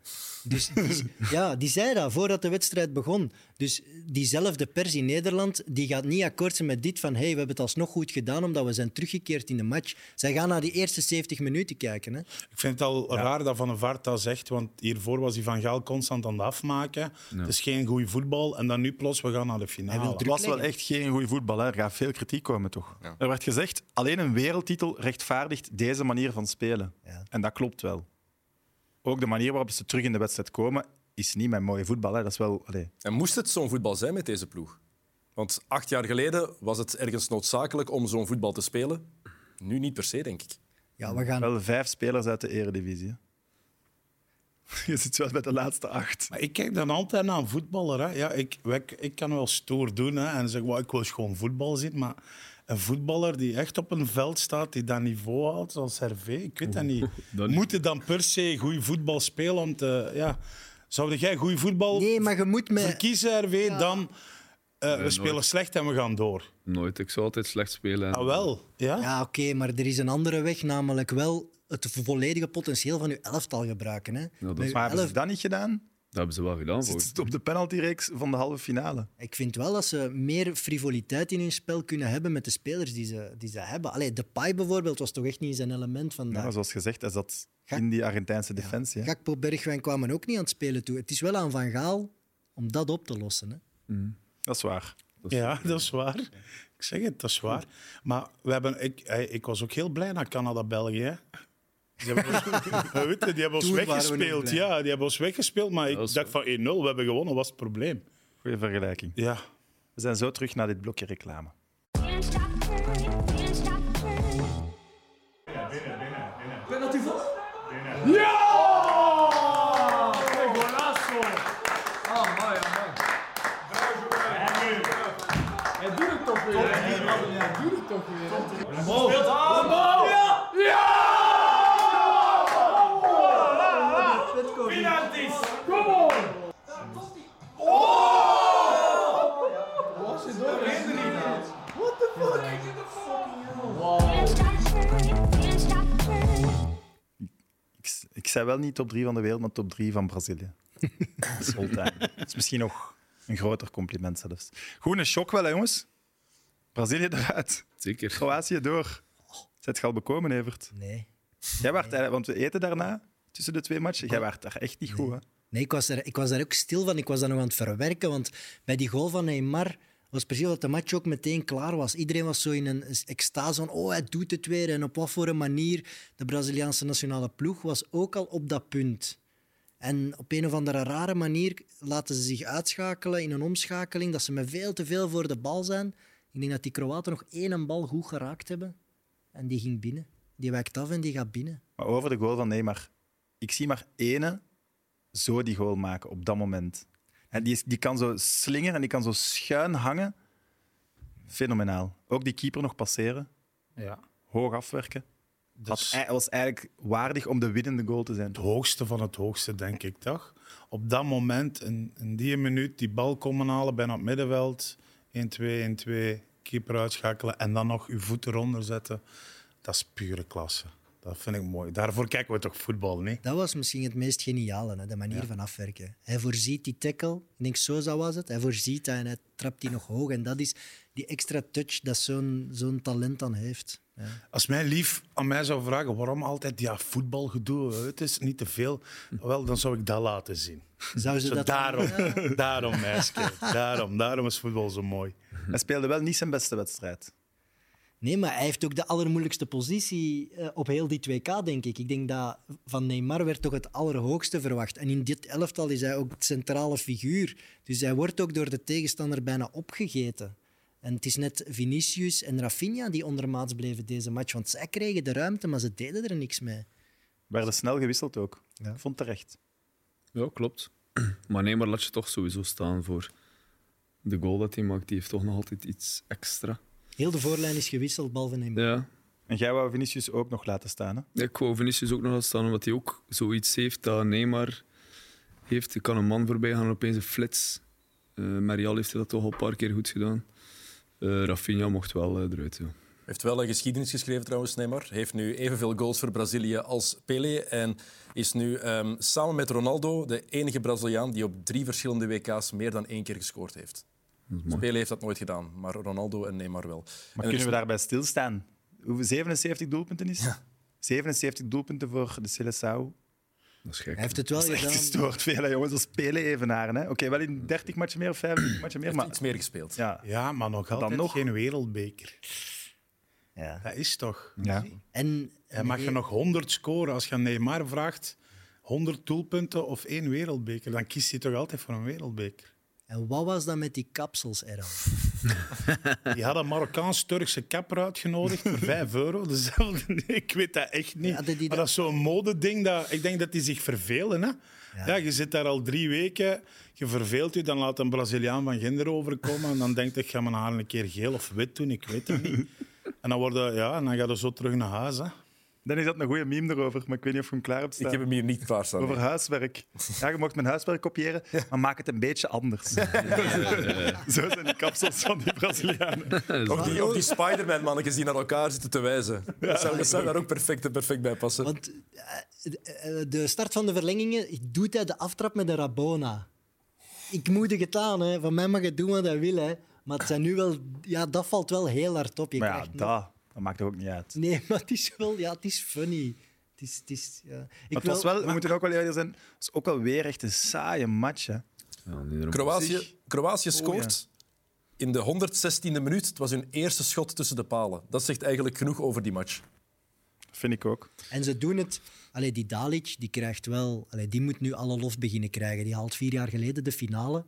Dus die- ja, die zei dat voordat de wedstrijd begon. Dus diezelfde pers in Nederland die gaat niet akkoord zijn met dit van hey, we hebben het alsnog goed gedaan omdat we zijn teruggekeerd in de match. Zij gaan naar die eerste 70 minuten kijken. Hè? Ik vind het al raar dat Van der Vaart dat zegt, want hiervoor was hij Van Gaal constant aan het afmaken. Het is geen goede voetbal en dan nu plots, we gaan naar de Hij finale. wil Het was wel echt geen goede voetbal. Hè. Er gaat veel kritiek komen, toch? Er werd gezegd, alleen een wereldtitel rechtvaardigt deze manier van spelen. Ja. En dat klopt wel. Ook de manier waarop ze terug in de wedstrijd komen, is niet mijn mooie voetbal. Hè. Dat is wel... allee. En moest het zo'n voetbal zijn met deze ploeg? Want acht jaar geleden was het ergens noodzakelijk om zo'n voetbal te spelen. Nu niet per se, denk ik. Ja, we gaan Wel vijf spelers uit de eredivisie. hè. Je zit wel bij de laatste acht. Maar ik kijk dan altijd naar een voetballer. Hè. Ja, ik, ik, ik kan wel stoer doen hè, en zeggen, "Wauw, ik wil gewoon voetbal zien, maar een voetballer die echt op een veld staat, die dat niveau houdt, zoals Hervé, ik weet dat niet. dat niet. Moet je dan per se goede voetbal spelen om te... Ja, zou jij goede voetbal Nee, maar je moet met... verkiezen, Hervé, dan eh, we nooit. spelen slecht en we gaan door. Nooit. Ik zou altijd slecht spelen. en- Ah, wel. Ja? Ja, oké, maar er is een andere weg, namelijk wel het volledige potentieel van uw elftal gebruiken. Hè. dat Met is- uw Maar hebben elf- ze dat niet gedaan? Dat hebben ze wel gedaan. Zit volgens het op de penaltyreeks van de halve finale? Ik vind wel dat ze meer frivoliteit in hun spel kunnen hebben met de spelers die ze, die ze hebben. Allee, Depay bijvoorbeeld was toch echt niet in zijn element vandaag. Ja, zoals gezegd, hij zat Ga- in die Argentijnse defensie. hè. Gakpo, Bergwijn kwamen ook niet aan het spelen toe. Het is wel aan Van Gaal om dat op te lossen. Hè. Dat is waar. Ja, dat is waar. Ik zeg het, dat is waar. Maar we hebben, ik, eh, ik was ook heel blij naar Canada-België. hè. Die hebben ons, we weten, die hebben ons Toen waren we nog weggespeeld. blij. Ja, die hebben ons weggespeeld. Maar ik Dat is dacht van 1-0, we hebben gewonnen, was het probleem. Goeie vergelijking. Ja. We zijn zo terug naar dit blokje reclame. Can't stop burning, can't stop burning. Can't stop burning, can't stop burning. Ik, ik zei wel niet top 3 van de wereld, maar top 3 van Brazilië. Dat is all time. Dat is misschien nog een groter compliment zelfs. Goed, een shock wel, hè, jongens. Brazilië eruit, mij. Zeker. Kroatië door. Zet je al bekomen, Evert? Nee. Jij waart, eigenlijk- want we eten daarna, tussen de twee matchen. Jij waart daar echt niet goed, hè? Nee, ik was, daar, ik was daar ook stil van. Ik was dat nog aan het verwerken. Want bij die goal van Neymar was precies dat de match ook meteen klaar was. Iedereen was zo in een extase van oh, hij doet het weer. En op wat voor een manier de Braziliaanse nationale ploeg was ook al op dat punt. En op een of andere rare manier laten ze zich uitschakelen in een omschakeling dat ze met veel te veel voor de bal zijn. Ik denk dat die Kroaten nog één bal goed geraakt hebben. En die ging binnen. Die wijkt af en die gaat binnen. Maar over de goal van Neymar. Ik zie maar ene zo die goal maken op dat moment. En die, is- die kan zo slingeren en die kan zo schuin hangen. Fenomenaal. Ook die keeper nog passeren. ja. Hoog afwerken. Dus Hij was eigenlijk waardig om de winnende goal te zijn. het hoogste van het hoogste, denk ik, toch? Op dat moment, in, in die minuut, die bal komen halen, bijna op het middenveld. 1-2, 1-2, keeper uitschakelen en dan nog uw voet eronder zetten. Dat is pure klasse. Dat vind ik mooi. Daarvoor kijken we toch voetbal, nee? Dat was misschien het meest geniale, hè, de manier van afwerken. Hij voorziet die tackle. Ik denk, zo zo was het. Hij voorziet dat en hij trapt die nog hoog. En dat is die extra touch dat zo'n zo'n talent dan heeft. Ja. Als mijn lief aan mij zou vragen waarom altijd ja, voetbalgedoe, het is niet te veel, wel, dan zou ik dat laten zien. Zou ze Zo, dat daarom, daarom, meisje. Daarom, daarom is voetbal zo mooi. Hij speelde wel niet zijn beste wedstrijd. Nee, maar hij heeft ook de allermoeilijkste positie eh, op heel die 2K, denk ik. Ik denk dat van Neymar werd toch het allerhoogste verwacht. En in dit elftal is hij ook de centrale figuur. Dus hij wordt ook door de tegenstander bijna opgegeten. En het is net Vinicius en Rafinha die ondermaats bleven deze match. Want zij kregen de ruimte, maar ze deden er niks mee. Werden snel gewisseld ook. Ik vond terecht. Ja, klopt. Maar nee, maar laat je toch sowieso staan voor de goal dat hij maakt. Die heeft toch nog altijd iets extra. Heel de voorlijn is gewisseld, behalve Neymar. Ja. En jij wou Vinicius ook nog laten staan. Hè? Ik wou Vinicius ook nog laten staan, omdat hij ook zoiets heeft dat Neymar heeft. Er kan een man voorbij gaan en opeens een flits. Eh Marial heeft dat toch al een paar keer goed gedaan. Eh Rafinha mocht wel eh, eruit. Ja. Heeft wel een geschiedenis geschreven trouwens, Neymar. Heeft nu evenveel goals voor Brazilië als Pelé. En is nu ehm, samen met Ronaldo de enige Braziliaan die op drie verschillende WK's meer dan één keer gescoord heeft. Dus Pelé heeft dat nooit gedaan, maar Ronaldo en Neymar wel. En Maar er kunnen is- we daarbij stilstaan? Hoeveel 77 doelpunten is? 77 doelpunten voor de Seleção. Dat is gek. Hij heeft het wel Dat is echt gedaan. gestoord veel, hè, jongens. Dat spelen evenaren. hè. Oké, wel in 30 matchen meer of 35 matchen meer. heeft Maar iets meer gespeeld. ja, Ja, maar nog altijd nog? geen wereldbeker. Ja. Dat is toch... ja. En, eh, En mag je nog 100 scoren als je aan Neymar vraagt... 100 doelpunten of één wereldbeker, dan kiest hij toch altijd voor een wereldbeker. en wat was dat met die kapsels, Errol? Die had een Marokkaans-Turkse kapper uitgenodigd voor 5 euro. Dezelfde. Nee, Ik weet dat echt niet. Ja, dat die dat- Maar dat is zo'n modeding. Dat, ik denk dat die zich vervelen. Hè? Ja. je zit daar al drie weken, je verveelt je, dan laat een Braziliaan van Ginder overkomen en dan denkt ik, ik ga mijn haar een keer geel of wit doen, ik weet het niet. en dan, word je, ja, en dan ga je zo terug naar huis. Hè? Dan is dat een goede meme erover, maar ik weet niet of je hem klaar hebt staan. Ik heb hem hier niet klaarstaan. Over nee. huiswerk. Ja, je mocht mijn huiswerk kopiëren, maar maak het een beetje anders. Zo zijn die kapsels van die Brazilianen. Ook die, ook die Spider-Man-mannetjes die naar elkaar zitten te wijzen. Dat zou, dat zou daar ook perfect, perfect bij passen. Want eh, eh, de start van de verlengingen doet hij de aftrap met een Rabona. Ik moedig het aan, hè. van mij mag het doen wat hij wil. Hè. Maar het zijn nu wel, ja, dat valt wel heel hard op. Je Maar ja, krijgt dat, dat maakt ook niet uit. Nee, maar het is wel, ja, het is funny. Het is, het is, ja. Ik Maar het was wel, we moeten ook wel eerder zijn, het is ook wel weer echt een saaie match. Hè. Ja, niet normaal. Kroatië, Kroatië Oh, scoort in de 116e minuut. Het was hun eerste schot tussen de palen. Dat zegt eigenlijk genoeg over die match. Vind ik ook. En ze doen het. Allee, die Dalic, die krijgt wel... Allee, die moet nu alle lof beginnen krijgen. Die haalt vier jaar geleden de finale.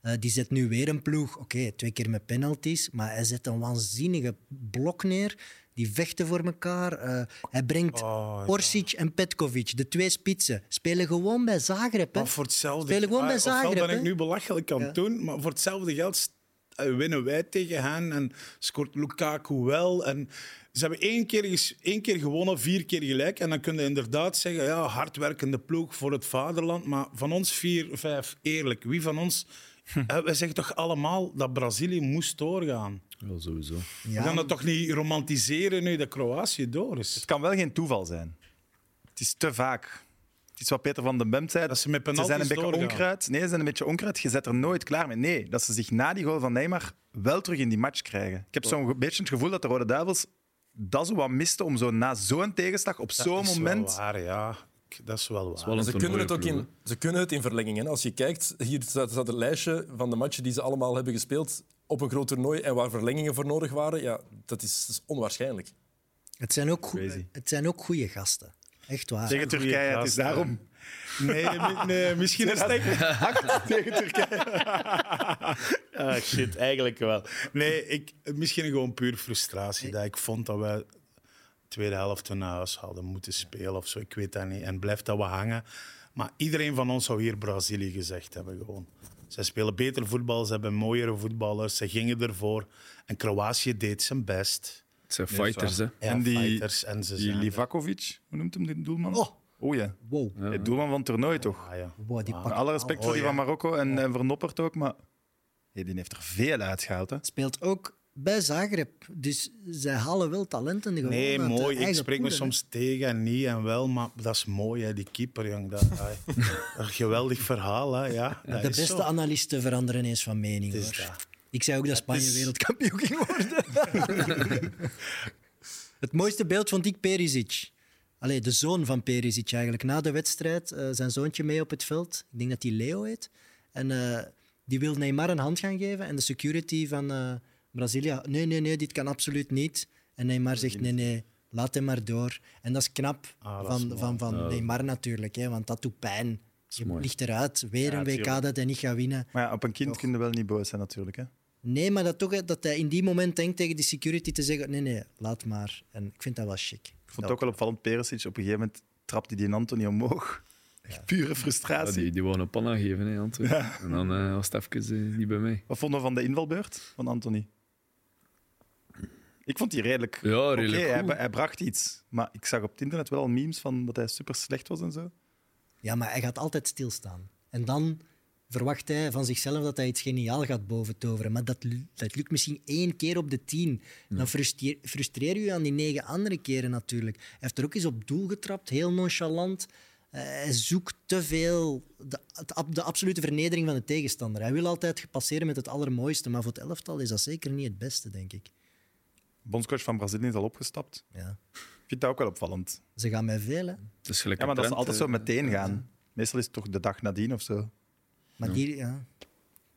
Eh, die zet nu weer een ploeg. Oké, twee keer met penalties. Maar hij zet een waanzinnige blok neer. Die vechten voor elkaar. Eh, hij brengt Oh, Orsic en Petkovic, de twee spitsen. Spelen gewoon bij Zagreb. Hè? Maar voor hetzelfde Ah, Spelen gewoon bij ofwel Zagreb, ben hè? ik nu belachelijk aan Ja. het doen, maar voor hetzelfde geld st- eh, winnen wij tegen hen en scoort Lukaku wel. En ze hebben één keer, ges- één keer gewonnen, vier keer gelijk. En dan kun je inderdaad zeggen, ja, hardwerkende ploeg voor het vaderland. Maar van ons vier, vijf, eerlijk, wie van ons... Hm. Eh, Wij zeggen toch allemaal dat Brazilië moest doorgaan. Ja, sowieso. Ja. We gaan dat toch niet romantiseren nu dat Kroatië door is? Het kan wel geen toeval zijn. Het is te vaak. Het is wat Peter van den Bem zei. Dat ze met Ze penalties zijn een beetje doorgaan. onkruid. Nee, ze zijn een beetje onkruid. Je zet er nooit klaar mee. Nee, dat ze zich na die goal van Neymar wel terug in die match krijgen. Ik heb zo'n ge- beetje het gevoel dat de Rode Duivels dat zo wat misten om zo na zo'n tegenslag op zo'n Dat is wel moment... waar, ja. Ik- Dat is wel waar. Wel een Ze kunnen, het ook toernooiploeg, in, ze kunnen het in verlenging. Hè. Als je kijkt, hier staat, staat het lijstje van de matchen die ze allemaal hebben gespeeld op een groot toernooi en waar verlengingen voor nodig waren. Ja, dat is, dat is onwaarschijnlijk. Het zijn ook goe- Crazy. het zijn ook goede gasten. Echt waar. Tegen Turkije, het is gasten. daarom. Nee, Eh, mi- nee, misschien is het echt... tegen Turkije. Ah, shit, eigenlijk wel. Nee, ik, misschien gewoon puur frustratie. Dat ik vond dat we tweede helft naar huis hadden moeten spelen of zo. Ik weet dat niet. En blijft dat we hangen. Maar iedereen van ons zou hier Brazilië gezegd hebben gewoon. Ze spelen beter voetbal, ze hebben mooiere voetballers, ze gingen ervoor. En Kroatië deed zijn best. Het zijn fighters, hè. Ja, En die- fighters en ze Die zijn er. Livakovic, hoe noemt hem de doelman? Oh. ja. Wow. De doelman van het toernooi toch? Ah, ja. Oh, Wow, die Met pakt- alle respect voor die ja. van Marokko en, en Vernoppert ook, maar hey, die heeft er veel uitgehaald. Hè. speelt ook bij Zagreb. Dus zij halen wel talenten gewoon Nee, uit de mooi. Ik eigen spreek me poelen, hè. soms tegen en niet en wel, maar dat is mooi, hè, die keeper, jong. Dat, ai. Een geweldig verhaal, hè. Ja, dat De is beste zo. analisten veranderen eens van mening. Het is hoor. dat. Ik zei ook dat Spanje wereldkampioen ging worden. het mooiste beeld vond ik Perisic. Allee, de zoon van Perisic eigenlijk. Na de wedstrijd, eh, zijn zoontje mee op het veld. Ik denk dat hij Leo heet. En eh, die wil Neymar een hand gaan geven. En de security van eh, Brazilië... Nee, nee, nee, dit kan absoluut niet. En Neymar zegt, nee, nee, laat hem maar door. En dat is knap Ah, dat is van, mooi. van, van Neymar natuurlijk. Hè, want dat doet pijn. Je mooi. ligt eruit. Weer een WK dat hij niet gaat winnen. Maar ja, op een kind kun je wel niet boos zijn natuurlijk. Hè. Nee, maar dat, toch, hè, dat hij in die moment denkt tegen die security te zeggen: nee, nee, laat maar. En ik vind dat wel chic. Ik vond het ook wel opvallend, Perisic, op een gegeven moment trapte die Anthony omhoog. Echt pure Ja, frustratie. die, die wouden een panna geven, hè, Antwerp. En dan eh, was het even eh, niet bij mij. Wat vonden we van de invalbeurt van Anthony? Ik vond die redelijk... Ja, redelijk oké, hij, goed. bra- hij bracht iets. Maar ik zag op het internet wel al memes van dat hij super slecht was en zo. Ja, maar hij gaat altijd stilstaan. En dan verwacht hij van zichzelf dat hij iets geniaal gaat boventoveren. Maar dat, lu- dat lukt misschien één keer op de tien. Dan frustreer, frustreer je aan die negen andere keren natuurlijk. Hij heeft er ook eens op doel getrapt, heel nonchalant. Eh, hij zoekt te veel de, het ab- de absolute vernedering van de tegenstander. Hij wil altijd passeren met het allermooiste, maar voor het elftal is dat zeker niet het beste, denk ik. Bondscoach van Brazilië is al opgestapt. Ja. Ik vind dat ook wel opvallend. Ze gaan mij veel, hè. Het is gelijk Ja, maar een dat ze trend, altijd eh. zo meteen gaan. Meestal is het toch de dag nadien of zo. Maar Die, ja,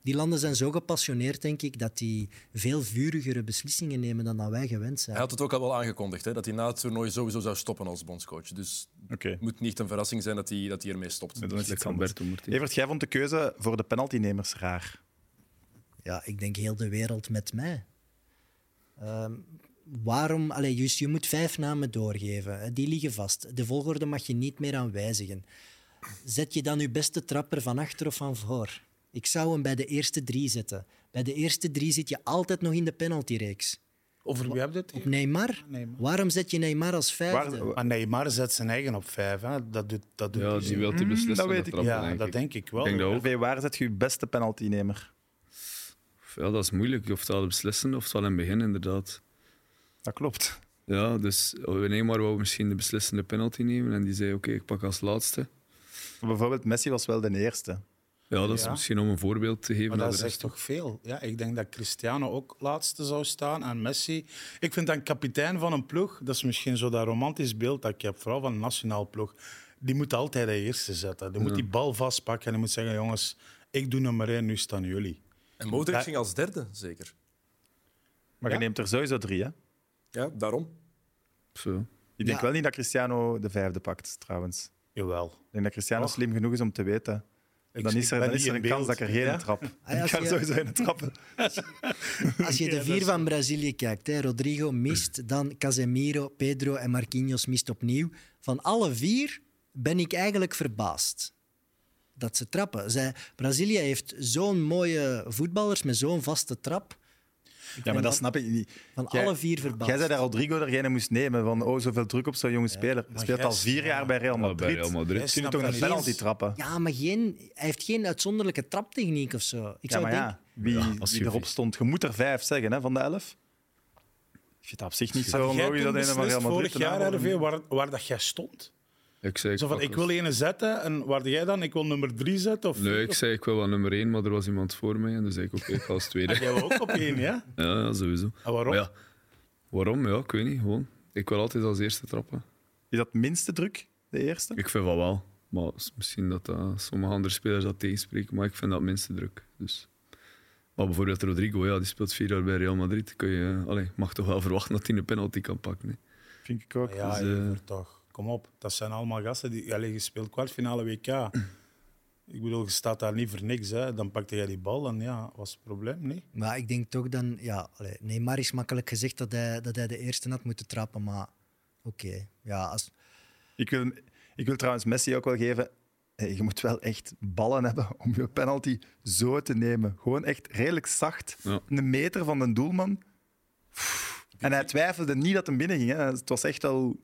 die landen zijn zo gepassioneerd, denk ik, dat die veel vurigere beslissingen nemen dan dat wij gewend zijn. Hij had het ook al wel aangekondigd, hè, dat hij na het toernooi sowieso zou stoppen als bondscoach. Dus Oké. het moet niet een verrassing zijn dat hij, dat hij ermee stopt. Dan is het Gelijk iets anders. Alberto Martinez. Evert, jij vond de keuze voor de penaltynemers raar. Ja, ik denk heel de wereld met mij. Ehm, waarom? Allee, juist, je moet vijf namen doorgeven. hè. Die liggen vast. De volgorde mag je niet meer aan wijzigen. Zet je dan je beste trapper van achter of van voor? Ik zou hem bij de eerste drie zetten. Bij de eerste drie zit je altijd nog in de penaltyreeks. Over wie heb je het? Op Neymar? Neymar. Waarom zet je Neymar als vijfde? Waar- Maar Neymar zet zijn eigen op vijf. Hè. Dat doet, dat doet Ja, hij zo. die wil die dat beslissen. weet dat ik. trappen, ja denk dat ik. denk ik wel. denk dat ook. Hervé, waar zet je je beste penaltynemer? Ja, dat is moeilijk. Of het al beslissen of het al in het begin, inderdaad. Dat klopt. Ja, dus Neymar wou misschien de beslissende penalty nemen. En die zei, oké, ik pak als laatste. Bijvoorbeeld, Messi was wel de eerste. Ja, dat is Ja. misschien om een voorbeeld te geven Maar aan dat de zegt rest. toch veel. Ja, ik denk dat Cristiano ook laatste zou staan en Messi. Ik vind dat een kapitein van een ploeg, dat is misschien zo dat romantisch beeld dat ik heb, vooral van een nationaal ploeg, die moet altijd de eerste zetten. Die moet die bal vastpakken en die moet zeggen, jongens, ik doe nummer één, nu staan jullie. En Modric Ja. ging als derde, zeker. Maar je neemt er sowieso drie, hè? Ja, daarom. Zo. Ik denk Ja. wel niet dat Cristiano de vijfde pakt, trouwens. Jawel. Ik denk dat Cristiano Och. slim genoeg is om te weten. Ik- dan is ik er, ben dan is niet er in een kans beeld. dat ik er geen Ja. trap. Ah, ja, ik ga als er je- sowieso in trappen. Als je de vier van Brazilië kijkt, hè, Rodrigo mist, dan Casemiro, Pedro en Marquinhos mist opnieuw. Van alle vier ben ik eigenlijk verbaasd dat ze trappen. Zij, Brazilië heeft zo'n mooie voetballers met zo'n vaste trap. Ja, maar dat snap ik niet. Van Jij- alle vier verbaasd. Jij zei dat Rodrigo degene moest nemen van oh, zoveel druk op zo'n jonge speler. Hij speelt jij- al vier jaar bij Real Ja, Madrid. bij Real Madrid. Jij Kun je snapt toch dat een niet. penalty trappen? Ja, Ja, maar geen, hij heeft geen uitzonderlijke traptechniek of zo. Ik zou maar denken, ja, wie, Ja, als wie je- erop stond. Je moet er vijf zeggen hè, van de elf. Ik vind dat op zich niet zo Jij logisch toen dat een van beslist Real Madrid... vorig te jaar, naam- RV, waar, waar dat jij stond. Ik zei, Zo van, pak ik als- wil ene zetten en waar jij dan, ik wil nummer drie zetten. Of Nee, ik zei, ik wil wel nummer één, maar er was iemand voor mij. En dus zei ik, oké, ik ga als tweede. Jij wou ook op één, ja? Ja, ja, sowieso. Ah, En waarom? Maar ja, waarom? Ja, ik weet niet. Gewoon. Ik wil altijd als eerste trappen. Is dat minste druk, de eerste? Ik vind van wel. Maar s- misschien dat, dat sommige andere spelers dat tegenspreken, maar ik vind dat minste druk. Dus. Maar bijvoorbeeld Rodrigo, ja, die speelt vier jaar bij Real Madrid. Kun je, eh, allee, mag toch wel verwachten dat hij een penalty kan pakken. hè. Vind ik ook. Ja, Dus, eh, Jever, toch. Kom op. Dat zijn allemaal gasten die... Allee, je speelt kwartfinale WK. Ik bedoel, je staat daar niet voor niks. Hè. Dan pakte jij die bal en ja, was het probleem, nee? Maar ik denk toch dan, ja, allee, Neymar is makkelijk gezegd dat hij, dat hij de eerste had moeten trappen, maar oké. Ja, als, Ik wil, ik wil trouwens Messi ook wel geven. eh, Je moet wel echt ballen hebben om je penalty zo te nemen. Gewoon echt redelijk zacht. Ja. Een meter van de doelman. Pff, En hij twijfelde niet dat hem binnenging. Hè. Het was echt al.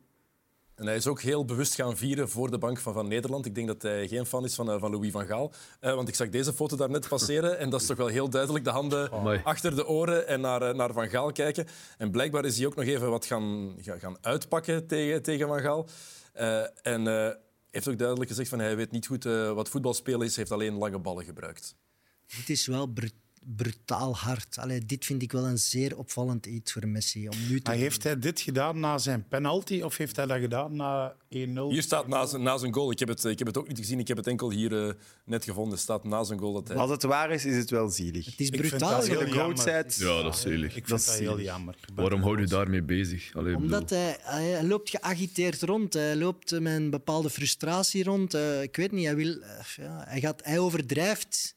En hij is ook heel bewust gaan vieren voor de Bank van, van Nederland. Ik denk dat hij geen fan is van, eh, van Louis van Gaal. Eh, want ik zag deze foto daarnet passeren. En dat is toch wel heel duidelijk de handen Amai. achter de oren en naar, eh, naar Van Gaal kijken. En blijkbaar is hij ook nog even wat gaan, ga- gaan uitpakken tegen, tegen Van Gaal. Eh, en eh, heeft ook duidelijk gezegd van hij weet niet goed eh, wat voetbalspelen is. heeft alleen lange ballen gebruikt. dit is wel bru- brutaal hard. Allee, dit vind ik wel een zeer opvallend iets voor Messi. Om nu te Maar heeft hij dit gedaan na zijn penalty of heeft hij dat gedaan na 1-0? Hier staat na zijn, na zijn goal. Ik heb, het, eh, ik heb het ook niet gezien. Ik heb het enkel hier eh, net gevonden. staat na zijn goal dat hij... Als het waar is, is het wel zielig. Het is Ik vind brutaal. dat heel De gedaan. jammer. grootheid. Ja, dat is Ik zielig. vind Dat dat, is heel zielig. jammer. Ik ben- Waarom hou je daarmee bezig? Allee, ik Omdat hij, hij loopt geagiteerd rond. Hij loopt eh, met een bepaalde frustratie rond. Eh, ik weet niet, hij, wil, eh, ja, hij, gaat, hij overdrijft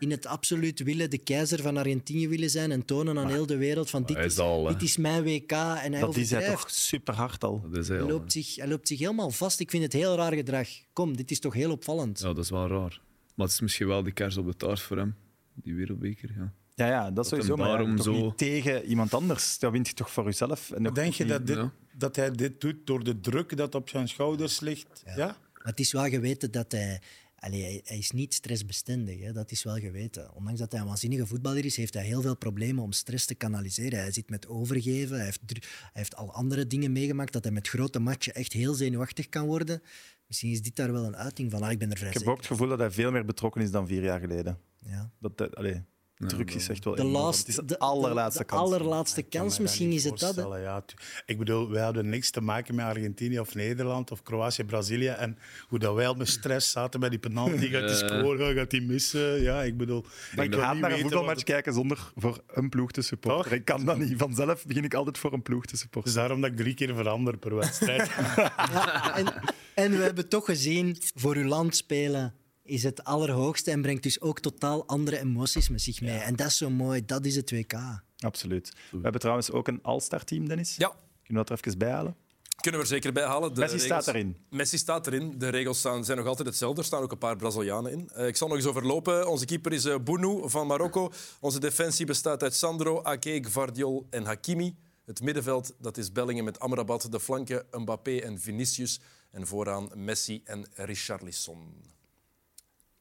in het absoluut willen de keizer van Argentinië willen zijn en tonen aan heel de wereld van dit hij is is, al, hè. dit is mijn WK en hij Dat is hij toch overdrijft. super hard al. bedoel, dat is hij Hij al, loopt, zich, hij loopt zich helemaal vast. Ik vind het heel raar gedrag. Kom, dit is toch heel opvallend. hè. Ja, dat is wel raar. Maar het is misschien wel de kers op de taart voor hem. Die wereldbeker, ja. Ja, ja dat, is hem sowieso. Maar ja, daarom toch zo- niet tegen iemand anders. Dat wint je toch voor jezelf. En ook Denk je niet- dat, dit, Ja. dat hij dit doet door de druk dat op zijn schouders ligt? Ja. Maar het is wel geweten dat hij... Allee, hij, hij is niet stressbestendig, hè? dat is wel geweten. Ondanks dat hij een waanzinnige voetballer is, heeft hij heel veel problemen om stress te kanaliseren. Hij zit met overgeven, hij heeft, dru- hij heeft al andere dingen meegemaakt, dat hij met grote matchen echt heel zenuwachtig kan worden. Misschien is dit daar wel een uiting van. Ah, ik ben er vrij Ik heb zeker ook het gevoel dat hij veel meer betrokken is dan vier jaar geleden. van, ja. Dat, dat, allee, druk is echt wel De, enorm. last, Het is de, de- de- allerlaatste de kans. allerlaatste kans, kan me dat misschien niet is het dat. hè. voorstellen, ja. Tu- Ik bedoel, wij hadden niks te maken met Argentinië of Nederland of Kroatië, Brazilië. En hoe dat wij al met stress zaten bij die penalty. Gaat hij scoren? Gaat hij missen? Ja, ik bedoel... Maar ik wil haat niet naar een weten voetbalmatch wat het- kijken zonder voor een ploeg te supporten. Toch? Ik kan dat niet. Vanzelf begin ik altijd voor een ploeg te supporten. Dus daarom dat ik drie keer verander per wedstrijd. Ja, en, en we hebben toch gezien, voor uw land spelen is het allerhoogste en brengt dus ook totaal andere emoties met zich mee. En dat is zo mooi, dat is het WK. Absoluut. We hebben trouwens ook een All-Star team, Dennis. Ja, Kunnen we dat er even bij halen? Kunnen we er zeker bij halen. De Messi staat erin. Messi staat erin. De regels staan, zijn nog altijd hetzelfde. Er staan ook een paar Brazilianen in. Eh, ik zal nog eens overlopen. Onze keeper is eh Bounou van Marokko. Onze defensie bestaat uit Sandro, Ake, Gvardiol en Hakimi. Het middenveld, dat is Bellingen met Amrabat. De flanken, Mbappé en Vinicius. En vooraan Messi en Richarlison.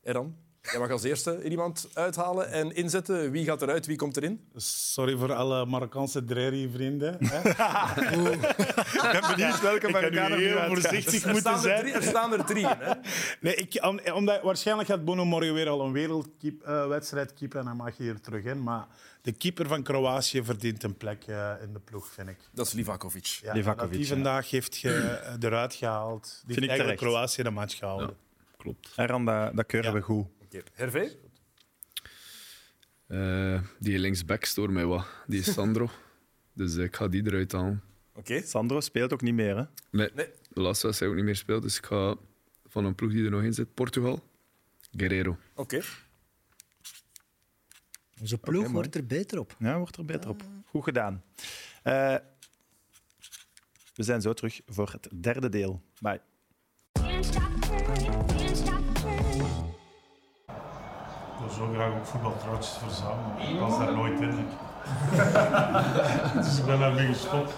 Eran, jij mag als eerste er iemand uithalen en inzetten. Wie gaat eruit, wie komt erin? Sorry voor alle Marokkaanse Dreri-vrienden. hè. Benieuwd welke Ik ga nu Marokkanen heel eruit gaat. voorzichtig Er moeten staan er zijn. drie. Er staan er drie in, hè? Nee, ik, om- omdat, waarschijnlijk gaat Bono morgen weer al een wereldwedstrijd keeper en dan mag je hier terug in. Maar de keeper van Kroatië verdient een plek eh, in de ploeg, vind ik. Dat is Livakovic. Ja, Livakovic, dat die ja. vandaag heeft ge, eh, eruit gehaald. Die ik heeft eigenlijk terecht. Kroatië de match gehouden. Klopt. Eran, dat, dat keuren Ja. we goed. Oké. Hervé? Eh, die linksback stoort mij wat. Die is Sandro. dus ik ga die eruit halen. Oké. Sandro speelt ook niet meer, hè? Nee, Nee. de laatste wedstrijd ook niet meer speelt. Dus ik ga van een ploeg die er nog in zit, Portugal, Guerrero. Oké. Onze ploeg mooi. wordt er beter op. Ja, wordt er beter op. Goed gedaan. Eh, we zijn zo terug voor het derde deel. Maar Can't stop turning, can't stop turning. Ik wil zo graag ook voetbaltrouwtjes verzamelen. Ik was daar nooit in. Ik. dus ik ben daarmee gestopt.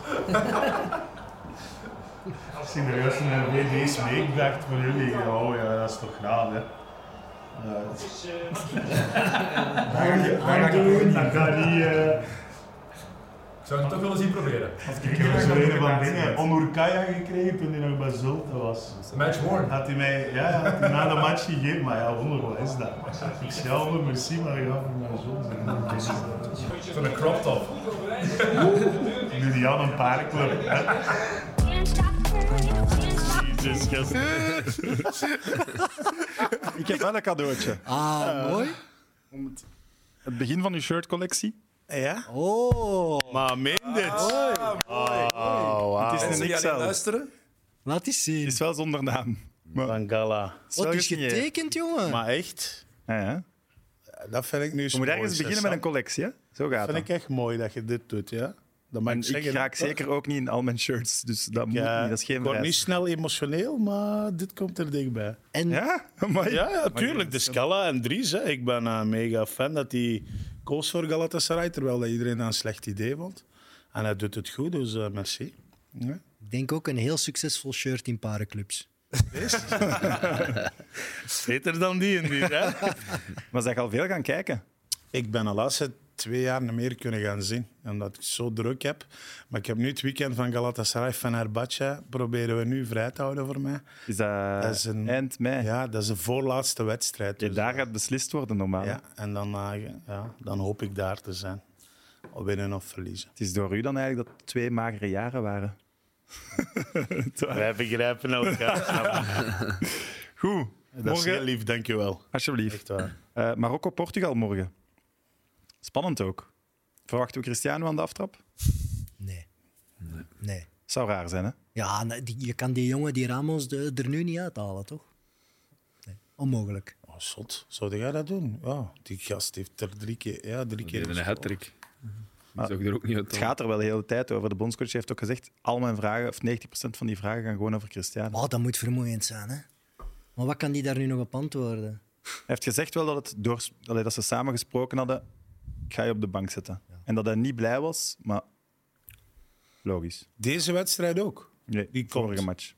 Als je de juiste RB deze week dacht voor jullie, oh ja, dat is toch raar, hè? Aandoen, dat kan niet. eh, Ik zou het toch wel eens hier proberen. Ik heb zo een van dingen. Onurkaya gekregen toen hij nog bij Zulte was. Match worn. Had hij mij ja, had hij na de match gegeven, maar ja, wonder, wat is dat? Ik zei, ja, wonder, merci, maar je gaat voor mijn zoon zijn. Voor een crop top. Nu die aan een paardenclub. hè. Can't stop turning, can't stop Jezus, gast. ik heb wel een cadeautje. Ah, mooi. Het begin van uw shirtcollectie. Ja? Ah. Oh, Maar meen dit? Het is Mensen een XL. die alleen Het luisteren. laat eens zien. is wel zonder naam. Maar Van Gala. het Wat wel is gesigneerd. getekend, jongen? Maar echt, Ja, ja. dat vind ik nu Je moet ergens beginnen met een collectie, hè? Zo gaat Dat het. vind ik echt mooi dat je dit doet, ja? Dat mag En ik ik zeggen. raak zeker ook niet in al mijn shirts, dus dat moet Ik, niet. eh, Dat is geen ik word niet prijs. snel emotioneel, maar dit komt er dichtbij. En Ja? Amai. Ja, ja tuurlijk. De Scala en Dries. Hè. Ik ben een mega fan dat hij koos voor Galatasaray, terwijl dat iedereen dat een slecht idee vond. En hij doet het goed, dus eh, merci. Ja. ik denk ook een heel succesvol shirt in parenclubs. Beter dan die en die. Hè? Maar zij al veel gaan kijken. ik ben de laatste twee jaar niet meer kunnen gaan zien, omdat ik zo druk heb. Maar ik heb nu het weekend van Galatasaray van Herbatje proberen we nu vrij te houden voor mij. Is dat, Dat is een- eind mei? Ja, dat is de voorlaatste wedstrijd. Ja, dus- daar gaat beslist worden normaal. ja, en dan, eh, ja, dan hoop ik daar te zijn. Of winnen of verliezen. Het is door u dan eigenlijk dat het twee magere jaren waren. Wij begrijpen elkaar. Goed, Dat is heel morgen, lief, dankjewel. alsjeblieft. Echt waar. Eh, Marokko-Portugal morgen. Spannend ook. Verwachten we Cristiano aan de aftrap? Nee. Nee. Zou raar zijn, hè? Ja, nee, die- je kan die jongen, die Ramos, de- er nu niet uithalen, toch? Nee. Onmogelijk. Oh, zot. Zou jij dat doen? Ja, die gast heeft er drie keer... Ja, drie Die keer heeft een hat-trick. Die zou ik er ook niet uit Het gaat er wel de hele tijd over. De bondscoach heeft ook gezegd, al mijn vragen, of 90% van die vragen gaan gewoon over Cristiano. Oh, dat moet vermoeiend zijn, hè? Maar wat kan die daar nu nog op antwoorden? Hij heeft gezegd wel dat, het door, allee, dat ze samen gesproken hadden, ik ga je op de bank zetten. En dat hij niet blij was, maar logisch. Deze wedstrijd ook. Nee, Die vorige komt. match.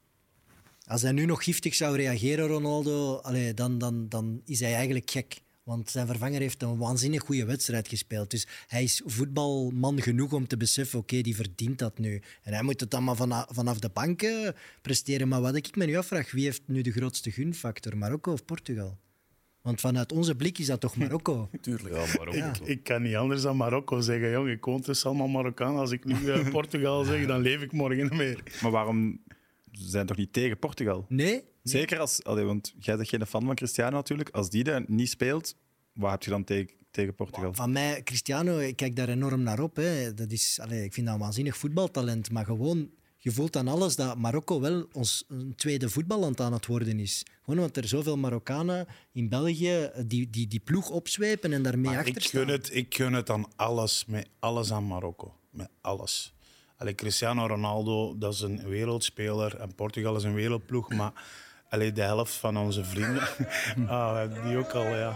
Als hij nu nog giftig zou reageren, Ronaldo, allee, dan, dan, dan is hij eigenlijk gek. Want zijn vervanger heeft een waanzinnig goede wedstrijd gespeeld. Dus hij is voetbalman genoeg om te beseffen, oké, die verdient dat nu. En hij moet het dan maar vana- vanaf de banken presteren. Maar wat ik me nu afvraag, wie heeft nu de grootste gunfactor, Marokko of Portugal? Want vanuit onze blik is dat toch Marokko? Tuurlijk. Ja. Ik kan niet anders dan Marokko zeggen. Jong, ik woon tussen allemaal Marokkaan. Als Ah, ik nu eh, Portugal zeg, dan leef ik morgen niet meer. Maar waarom ze zijn toch niet tegen Portugal? Nee? Zeker als, allee, want jij bent geen fan van Cristiano natuurlijk. Als die daar niet speelt, waar heb je dan tegen, tegen Portugal? Van mij, Cristiano, ik kijk daar enorm naar op. Hè. Dat is, allee, ik vind dat een waanzinnig voetbaltalent. Maar gewoon, je voelt aan alles dat Marokko wel ons een tweede voetballand aan het worden is. Gewoon omdat er zoveel Marokkanen in België eh, die, die, die ploeg opzwepen en daarmee Maar achter ik gun, het, ik gun het aan alles, met alles aan Marokko. Met alles. Allee, Cristiano Ronaldo, dat is een wereldspeler. En Portugal is een wereldploeg. Maar allee, de helft van onze vrienden... ah, die ook al, ja.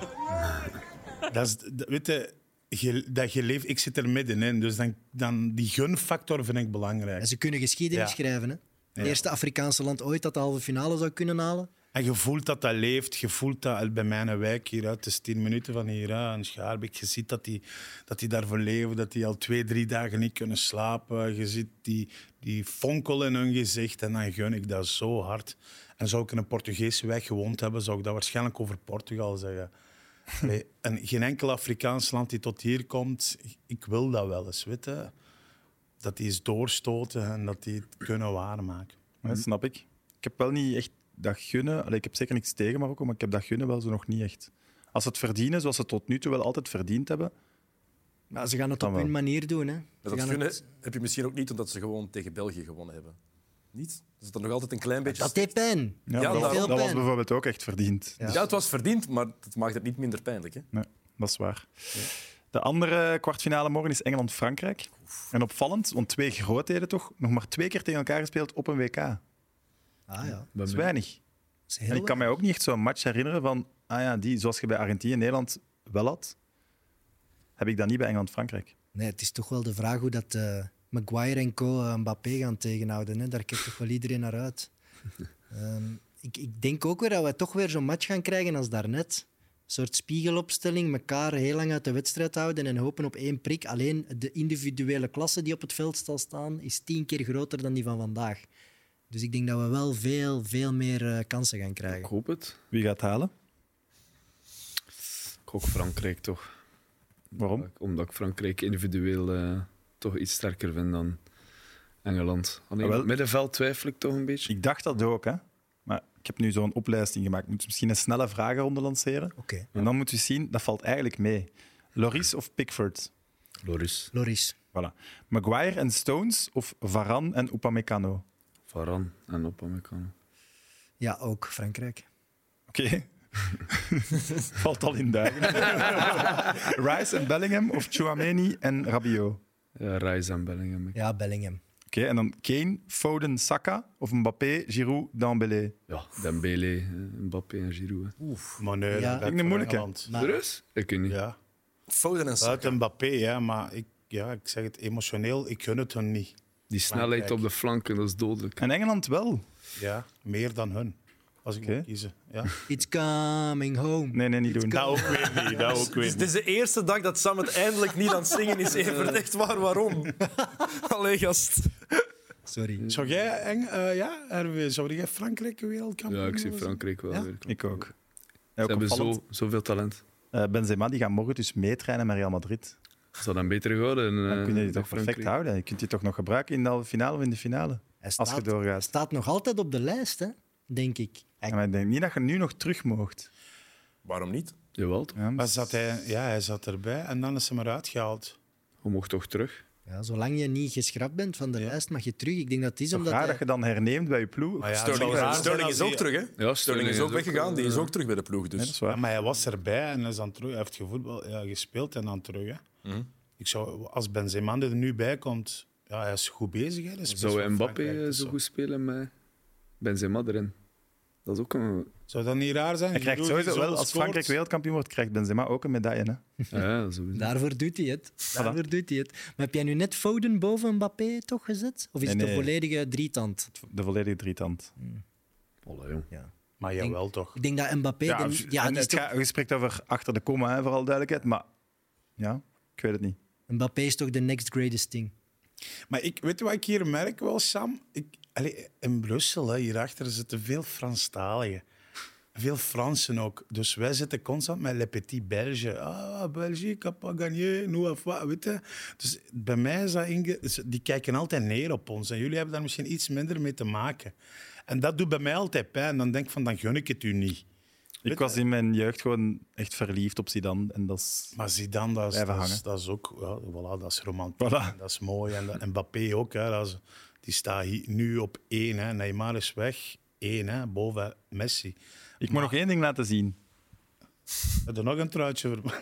Dat is, dat- weet je, je, dat je leeft, ik zit er middenin, dus dan, dan die gunfactor vind ik belangrijk. En ze kunnen geschiedenis Ja. schrijven. Hè? Het eerste Afrikaanse land ooit dat de halve finale zou kunnen halen. En je voelt dat dat leeft. Je voelt dat bij mijn wijk hier. hè, Het is tien minuten van hier aan Schaarbeek. Je ziet dat die, dat die daarvoor leven. Dat die al twee, drie dagen niet kunnen slapen. Je ziet die, die fonkel in hun gezicht. En dan gun ik dat zo hard. En zou ik in een Portugese wijk gewoond hebben, zou ik dat waarschijnlijk over Portugal zeggen. Allee, en geen enkel Afrikaans land die tot hier komt, ik wil dat wel eens. Weet je? Dat die eens doorstoten en dat die het kunnen waarmaken. Dat snap ik. Ik heb wel niet echt dat gunnen. Allee, ik heb zeker niks tegen Marokko, maar ik heb dat gunnen wel zo nog niet echt. Als ze het verdienen, zoals ze het tot nu toe wel altijd verdiend hebben. Maar ze gaan het Dan op hun wel. manier doen. Hè? Ze Maar dat gaan gunnen het- heb je misschien ook niet omdat ze gewoon tegen België gewonnen hebben. Niet? Er zit er nog altijd een klein beetje... Dat deed pijn. Ja, Ja, dat, veel dat was pijn. bijvoorbeeld ook echt verdiend. Ja, het was verdiend, maar dat maakt het niet minder pijnlijk. Hè? Nee, dat is waar. De andere kwartfinale morgen is Engeland-Frankrijk. En opvallend, want twee grootheden toch, nog maar twee keer tegen elkaar gespeeld op een WK. Dat Ah ja, is weinig. dat is En heel ik kan mij ook niet echt zo'n match herinneren van, ah ja, die zoals je bij Argentinië en Nederland wel had, heb ik dat niet bij Engeland-Frankrijk. Nee, het is toch wel de vraag hoe dat eh, Maguire en Co. eh, Mbappé gaan tegenhouden. Hè? Daar kijkt toch wel iedereen naar uit. Ehm, ik, ik denk ook weer dat we toch weer zo'n match gaan krijgen als daarnet. Een soort spiegelopstelling, elkaar heel lang uit de wedstrijd houden en hopen op één prik. Alleen de individuele klasse die op het veld zal staan, is tien keer groter dan die van vandaag. Dus ik denk dat we wel veel, veel meer eh, kansen gaan Ik krijgen. hoop het. Wie gaat het halen? Ik gok Frankrijk toch. Waarom? Omdat ik Frankrijk individueel eh, toch iets sterker vind dan Engeland. Alleen Ah, wel. op middenveld twijfel ik toch een beetje. Ik dacht dat ook, hè. Maar ik heb nu zo'n opleiding gemaakt. Moet misschien een snelle vragenronde lanceren. Oké, En dan moet u zien, dat valt eigenlijk mee. Loris of Pickford? Loris, Loris. Voilà. Maguire en Stones of Varan en Upamecano? Varane en Opamecano. Ja, ook Frankrijk. Oké. Valt al in duigen. Rice en Bellingham of Chouameni en Rabiot? Oké, Ja, Rice en Bellingham. Ja. Ja, Bellingham. en dan Kane, Foden, Saka of Mbappé, Giroud, Dembélé? Dembele, eh, Mbappé en Giroud. hè. Maar nee, Ja. dat Vind ik een moeilijke. Maar- Serieus? Ik weet niet. Ja. Foden en Saka. Uit Mbappé, ja, maar ik, ja, ik zeg het emotioneel, ik gun het hun niet. Die snelheid op Frankrijk. de flanken, dat is dodelijk. En Engeland wel. Ja, meer dan hun. Als ik Oké. moet kiezen. Ja. It's coming home. Nee, nee, niet doen. Dat ook weer niet. Dat ook weer Het is de eerste dag dat Sam het eindelijk niet aan het zingen is. Evert, echt waar, waarom? Allee, gast. Sorry. Zou jij, Eng, eh, ja, Hervé, zou jij Frankrijk een wereldkampioen Ja, ik zie willen zijn? Frankrijk wel Ja? weer. Ik ook. Ze hebben opvallend. zo, zoveel talent. Eh, Benzema die gaat morgen dus meetrainen met Real Madrid. Ze hadden hem beter gehouden. eh, Dan kun je die dan toch perfect Frankrijk. houden. Je kunt die toch nog gebruiken in de halve finale of in de finale. Hij staat, Als je doorgaat. staat nog altijd op de lijst, hè? denk ik. Hij- En ik denk niet dat je nu nog terug moogt. Waarom niet? Jawel, toch? Ja, Maar zat hij, ja, hij zat erbij en dan is hij maar uitgehaald. Hij mocht toch terug. ja, zolang je niet geschrapt bent van de lijst, mag je terug. Ik denk dat het is Toch omdat raar hij- dat je dan herneemt bij je ploeg. Maar ja, het Sterling, zou raar is, zijn Sterling als is hij- ook terug, hè? Ja, Sterling is ook weggegaan, die is ook terug bij de ploeg. Nee, dat Dus. is waar. Ja, maar hij was erbij en is dan terug. Hij heeft gevoetbal, ja, gespeeld en dan terug. Hè. Mhm. Ik zou, als Benzema er nu bij komt, ja, hij is goed bezig. Hè, de spits Zou van Mbappé Frankrijk, eh, dus zo goed spelen met Benzema erin? Dat is ook een... Zou dat niet raar zijn? Hij krijgt Giroud sowieso die zo wel, als scoort. Frankrijk wereldkampioen wordt, krijgt Benzema ook een medaille. Hè? Ja, sowieso. Daarvoor doet hij het. Daarvoor doet hij het. Maar heb jij nu net Foden boven Mbappé toch gezet? Of is Nee, het nee. de volledige drietand? De volledige drietand. Voilà, jong. Maar jawel toch. Ik denk dat Mbappé... Ja, de- ja, en die is het toch, gaat- je spreekt over achter de komma, hè, vooral duidelijkheid. Maar ja, ik weet het niet. Mbappé is toch de next greatest thing. Maar ik, weet je wat ik hier merk wel, Sam? Ik, allee, in Brussel, hè, hierachter, zitten veel Franstaligen. Veel Fransen ook. Dus wij zitten constant met le petit Belge. Ah, Belgique, a pas gagné, nous a pas, nou, weet je. Dus bij mij is dat... inge- is- Die kijken altijd neer op ons. En jullie hebben daar misschien iets minder mee te maken. En dat doet bij mij altijd pijn. Dan denk ik van, dan gun ik het u niet. Ik was in mijn jeugd gewoon echt verliefd op Zidane. En dat is... Maar Zidane, dat is, Blijven dat is, hangen. dat is ook... Ja, voilà, dat is romantiek. Voilà. en Dat is mooi. En, dat- en Mbappé ook. Hè, dat is- die staat hier nu op één. Hè. Neymar is weg. Eén, hè, boven Messi. Ik moet nog één ding laten zien. Heb je nog een truitje voor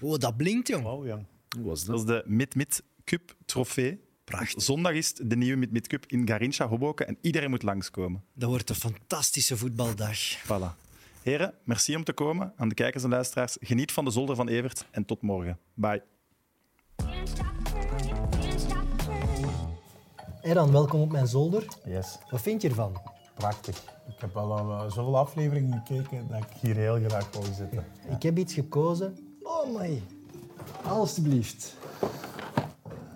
Oh, dat blinkt, jong. Wauw, jong. Hoe was dat? Dat is de Mid-Mid Cup trofee. Prachtig. Zondag is het de nieuwe Mid-Mid Cup in Garincha, Hoboken. En iedereen moet langskomen. Dat wordt een fantastische voetbaldag. Voilà. Heren, merci om te komen. Aan de kijkers en luisteraars, geniet van de zolder van Evert en tot morgen. Bye. Can't stop the burning, can't stop the burning. Eran, welkom op mijn zolder. Yes, Wat vind je ervan? prachtig. Ik heb al eh, zoveel afleveringen gekeken dat ik hier heel graag wil zitten. Ik heb iets gekozen. Oh my. Alsjeblieft.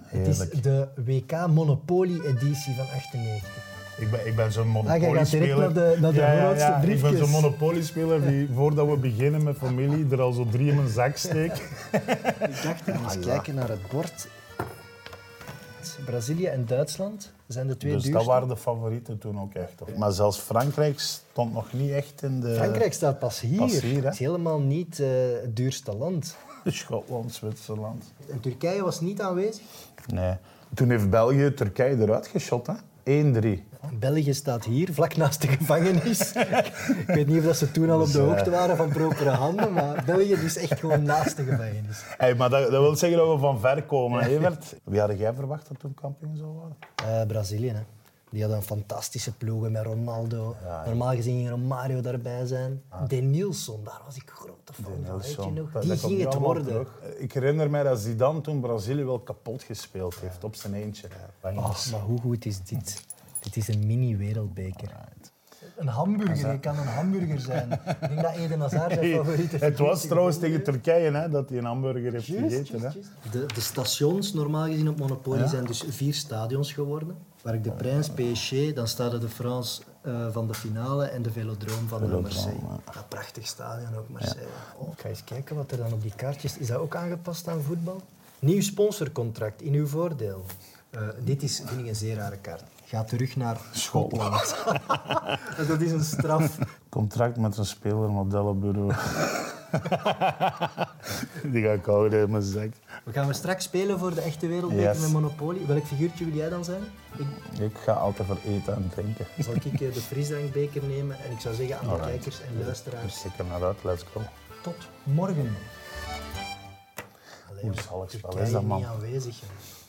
Het is Heerlijk. de WK Monopoly editie van 98. Ik ben, ik ben zo'n direct monopoliespeler. naar de- naar de ja, ja, grootste ja. Ik ben briefjes. zo'n monopoliespeler die, voordat we beginnen met familie, er al zo drie in mijn zak steekt. Ik dacht, we Ah, eens kijken naar het bord. Het is Brazilië en Duitsland zijn de twee Dus dat duurste. waren de favorieten toen ook echt. hoor. Maar zelfs Frankrijk stond nog niet echt in de... Frankrijk staat pas hier. eh, Pas hier, hè? het is helemaal niet eh, het duurste land. Schotland, Zwitserland. En Turkije was niet aanwezig. Nee. Toen heeft België Turkije eruit geschot, hè. 1-3. België staat hier, vlak naast de gevangenis. ik weet niet of dat ze toen al Dus, op de eh, hoogte waren van propere handen, maar België is echt gewoon naast de gevangenis. Hey, maar dat, dat wil zeggen dat we van ver komen, hè, Evert. Wie had jij verwacht dat toen kampioen zou worden? Eh, Brazilië, hè. Die hadden een fantastische ploegen met Ronaldo. Normaal gezien ging Romario daarbij zijn. Denilson, daar was ik grote fan van. weet je Nelson. nog? Ah. Dat- Die dat komt ging nu het allemaal worden. terug. Ik herinner mij dat Zidane toen Brazilië wel kapot gespeeld heeft, op zijn eentje. Oh, maar hoe goed is dit? Dit is een mini-wereldbeker. Een hamburger, het kan een hamburger zijn. Ik denk dat Eden Hazard zijn favoriete Het was verkiezing trouwens is. tegen Turkije hè, dat hij een hamburger heeft gegeten. Hè. De, de stations, normaal gezien op Monopoly, zijn dus vier stadions geworden. Parc de Prins, PSG, dan staat er de France eh, van de finale en de Velodroom van de Marseille. Dat prachtig stadion ook, Marseille. Oh, ik ga eens kijken wat er dan op die kaartjes... Is dat ook aangepast aan voetbal? Nieuw sponsorcontract, in uw voordeel. Eh, dit is, vind ik, een zeer rare kaart. Ga terug naar Schotland. dat is een straf. Contract met een speler, modellenbureau. Die ga ik houden in mijn zak. We gaan we straks spelen voor de echte wereldbeker Yes. met Monopoly. Welk figuurtje wil jij dan zijn? Ik, Ik ga altijd voor eten en drinken. zal ik eh, de frisdrankbeker nemen en ik zou zeggen aan de kijkers en luisteraars, Dus ik heb naar uit, let's go. tot morgen. Allee, Hoe joh, zalig spel Turkije is dat, man? niet aanwezig. joh.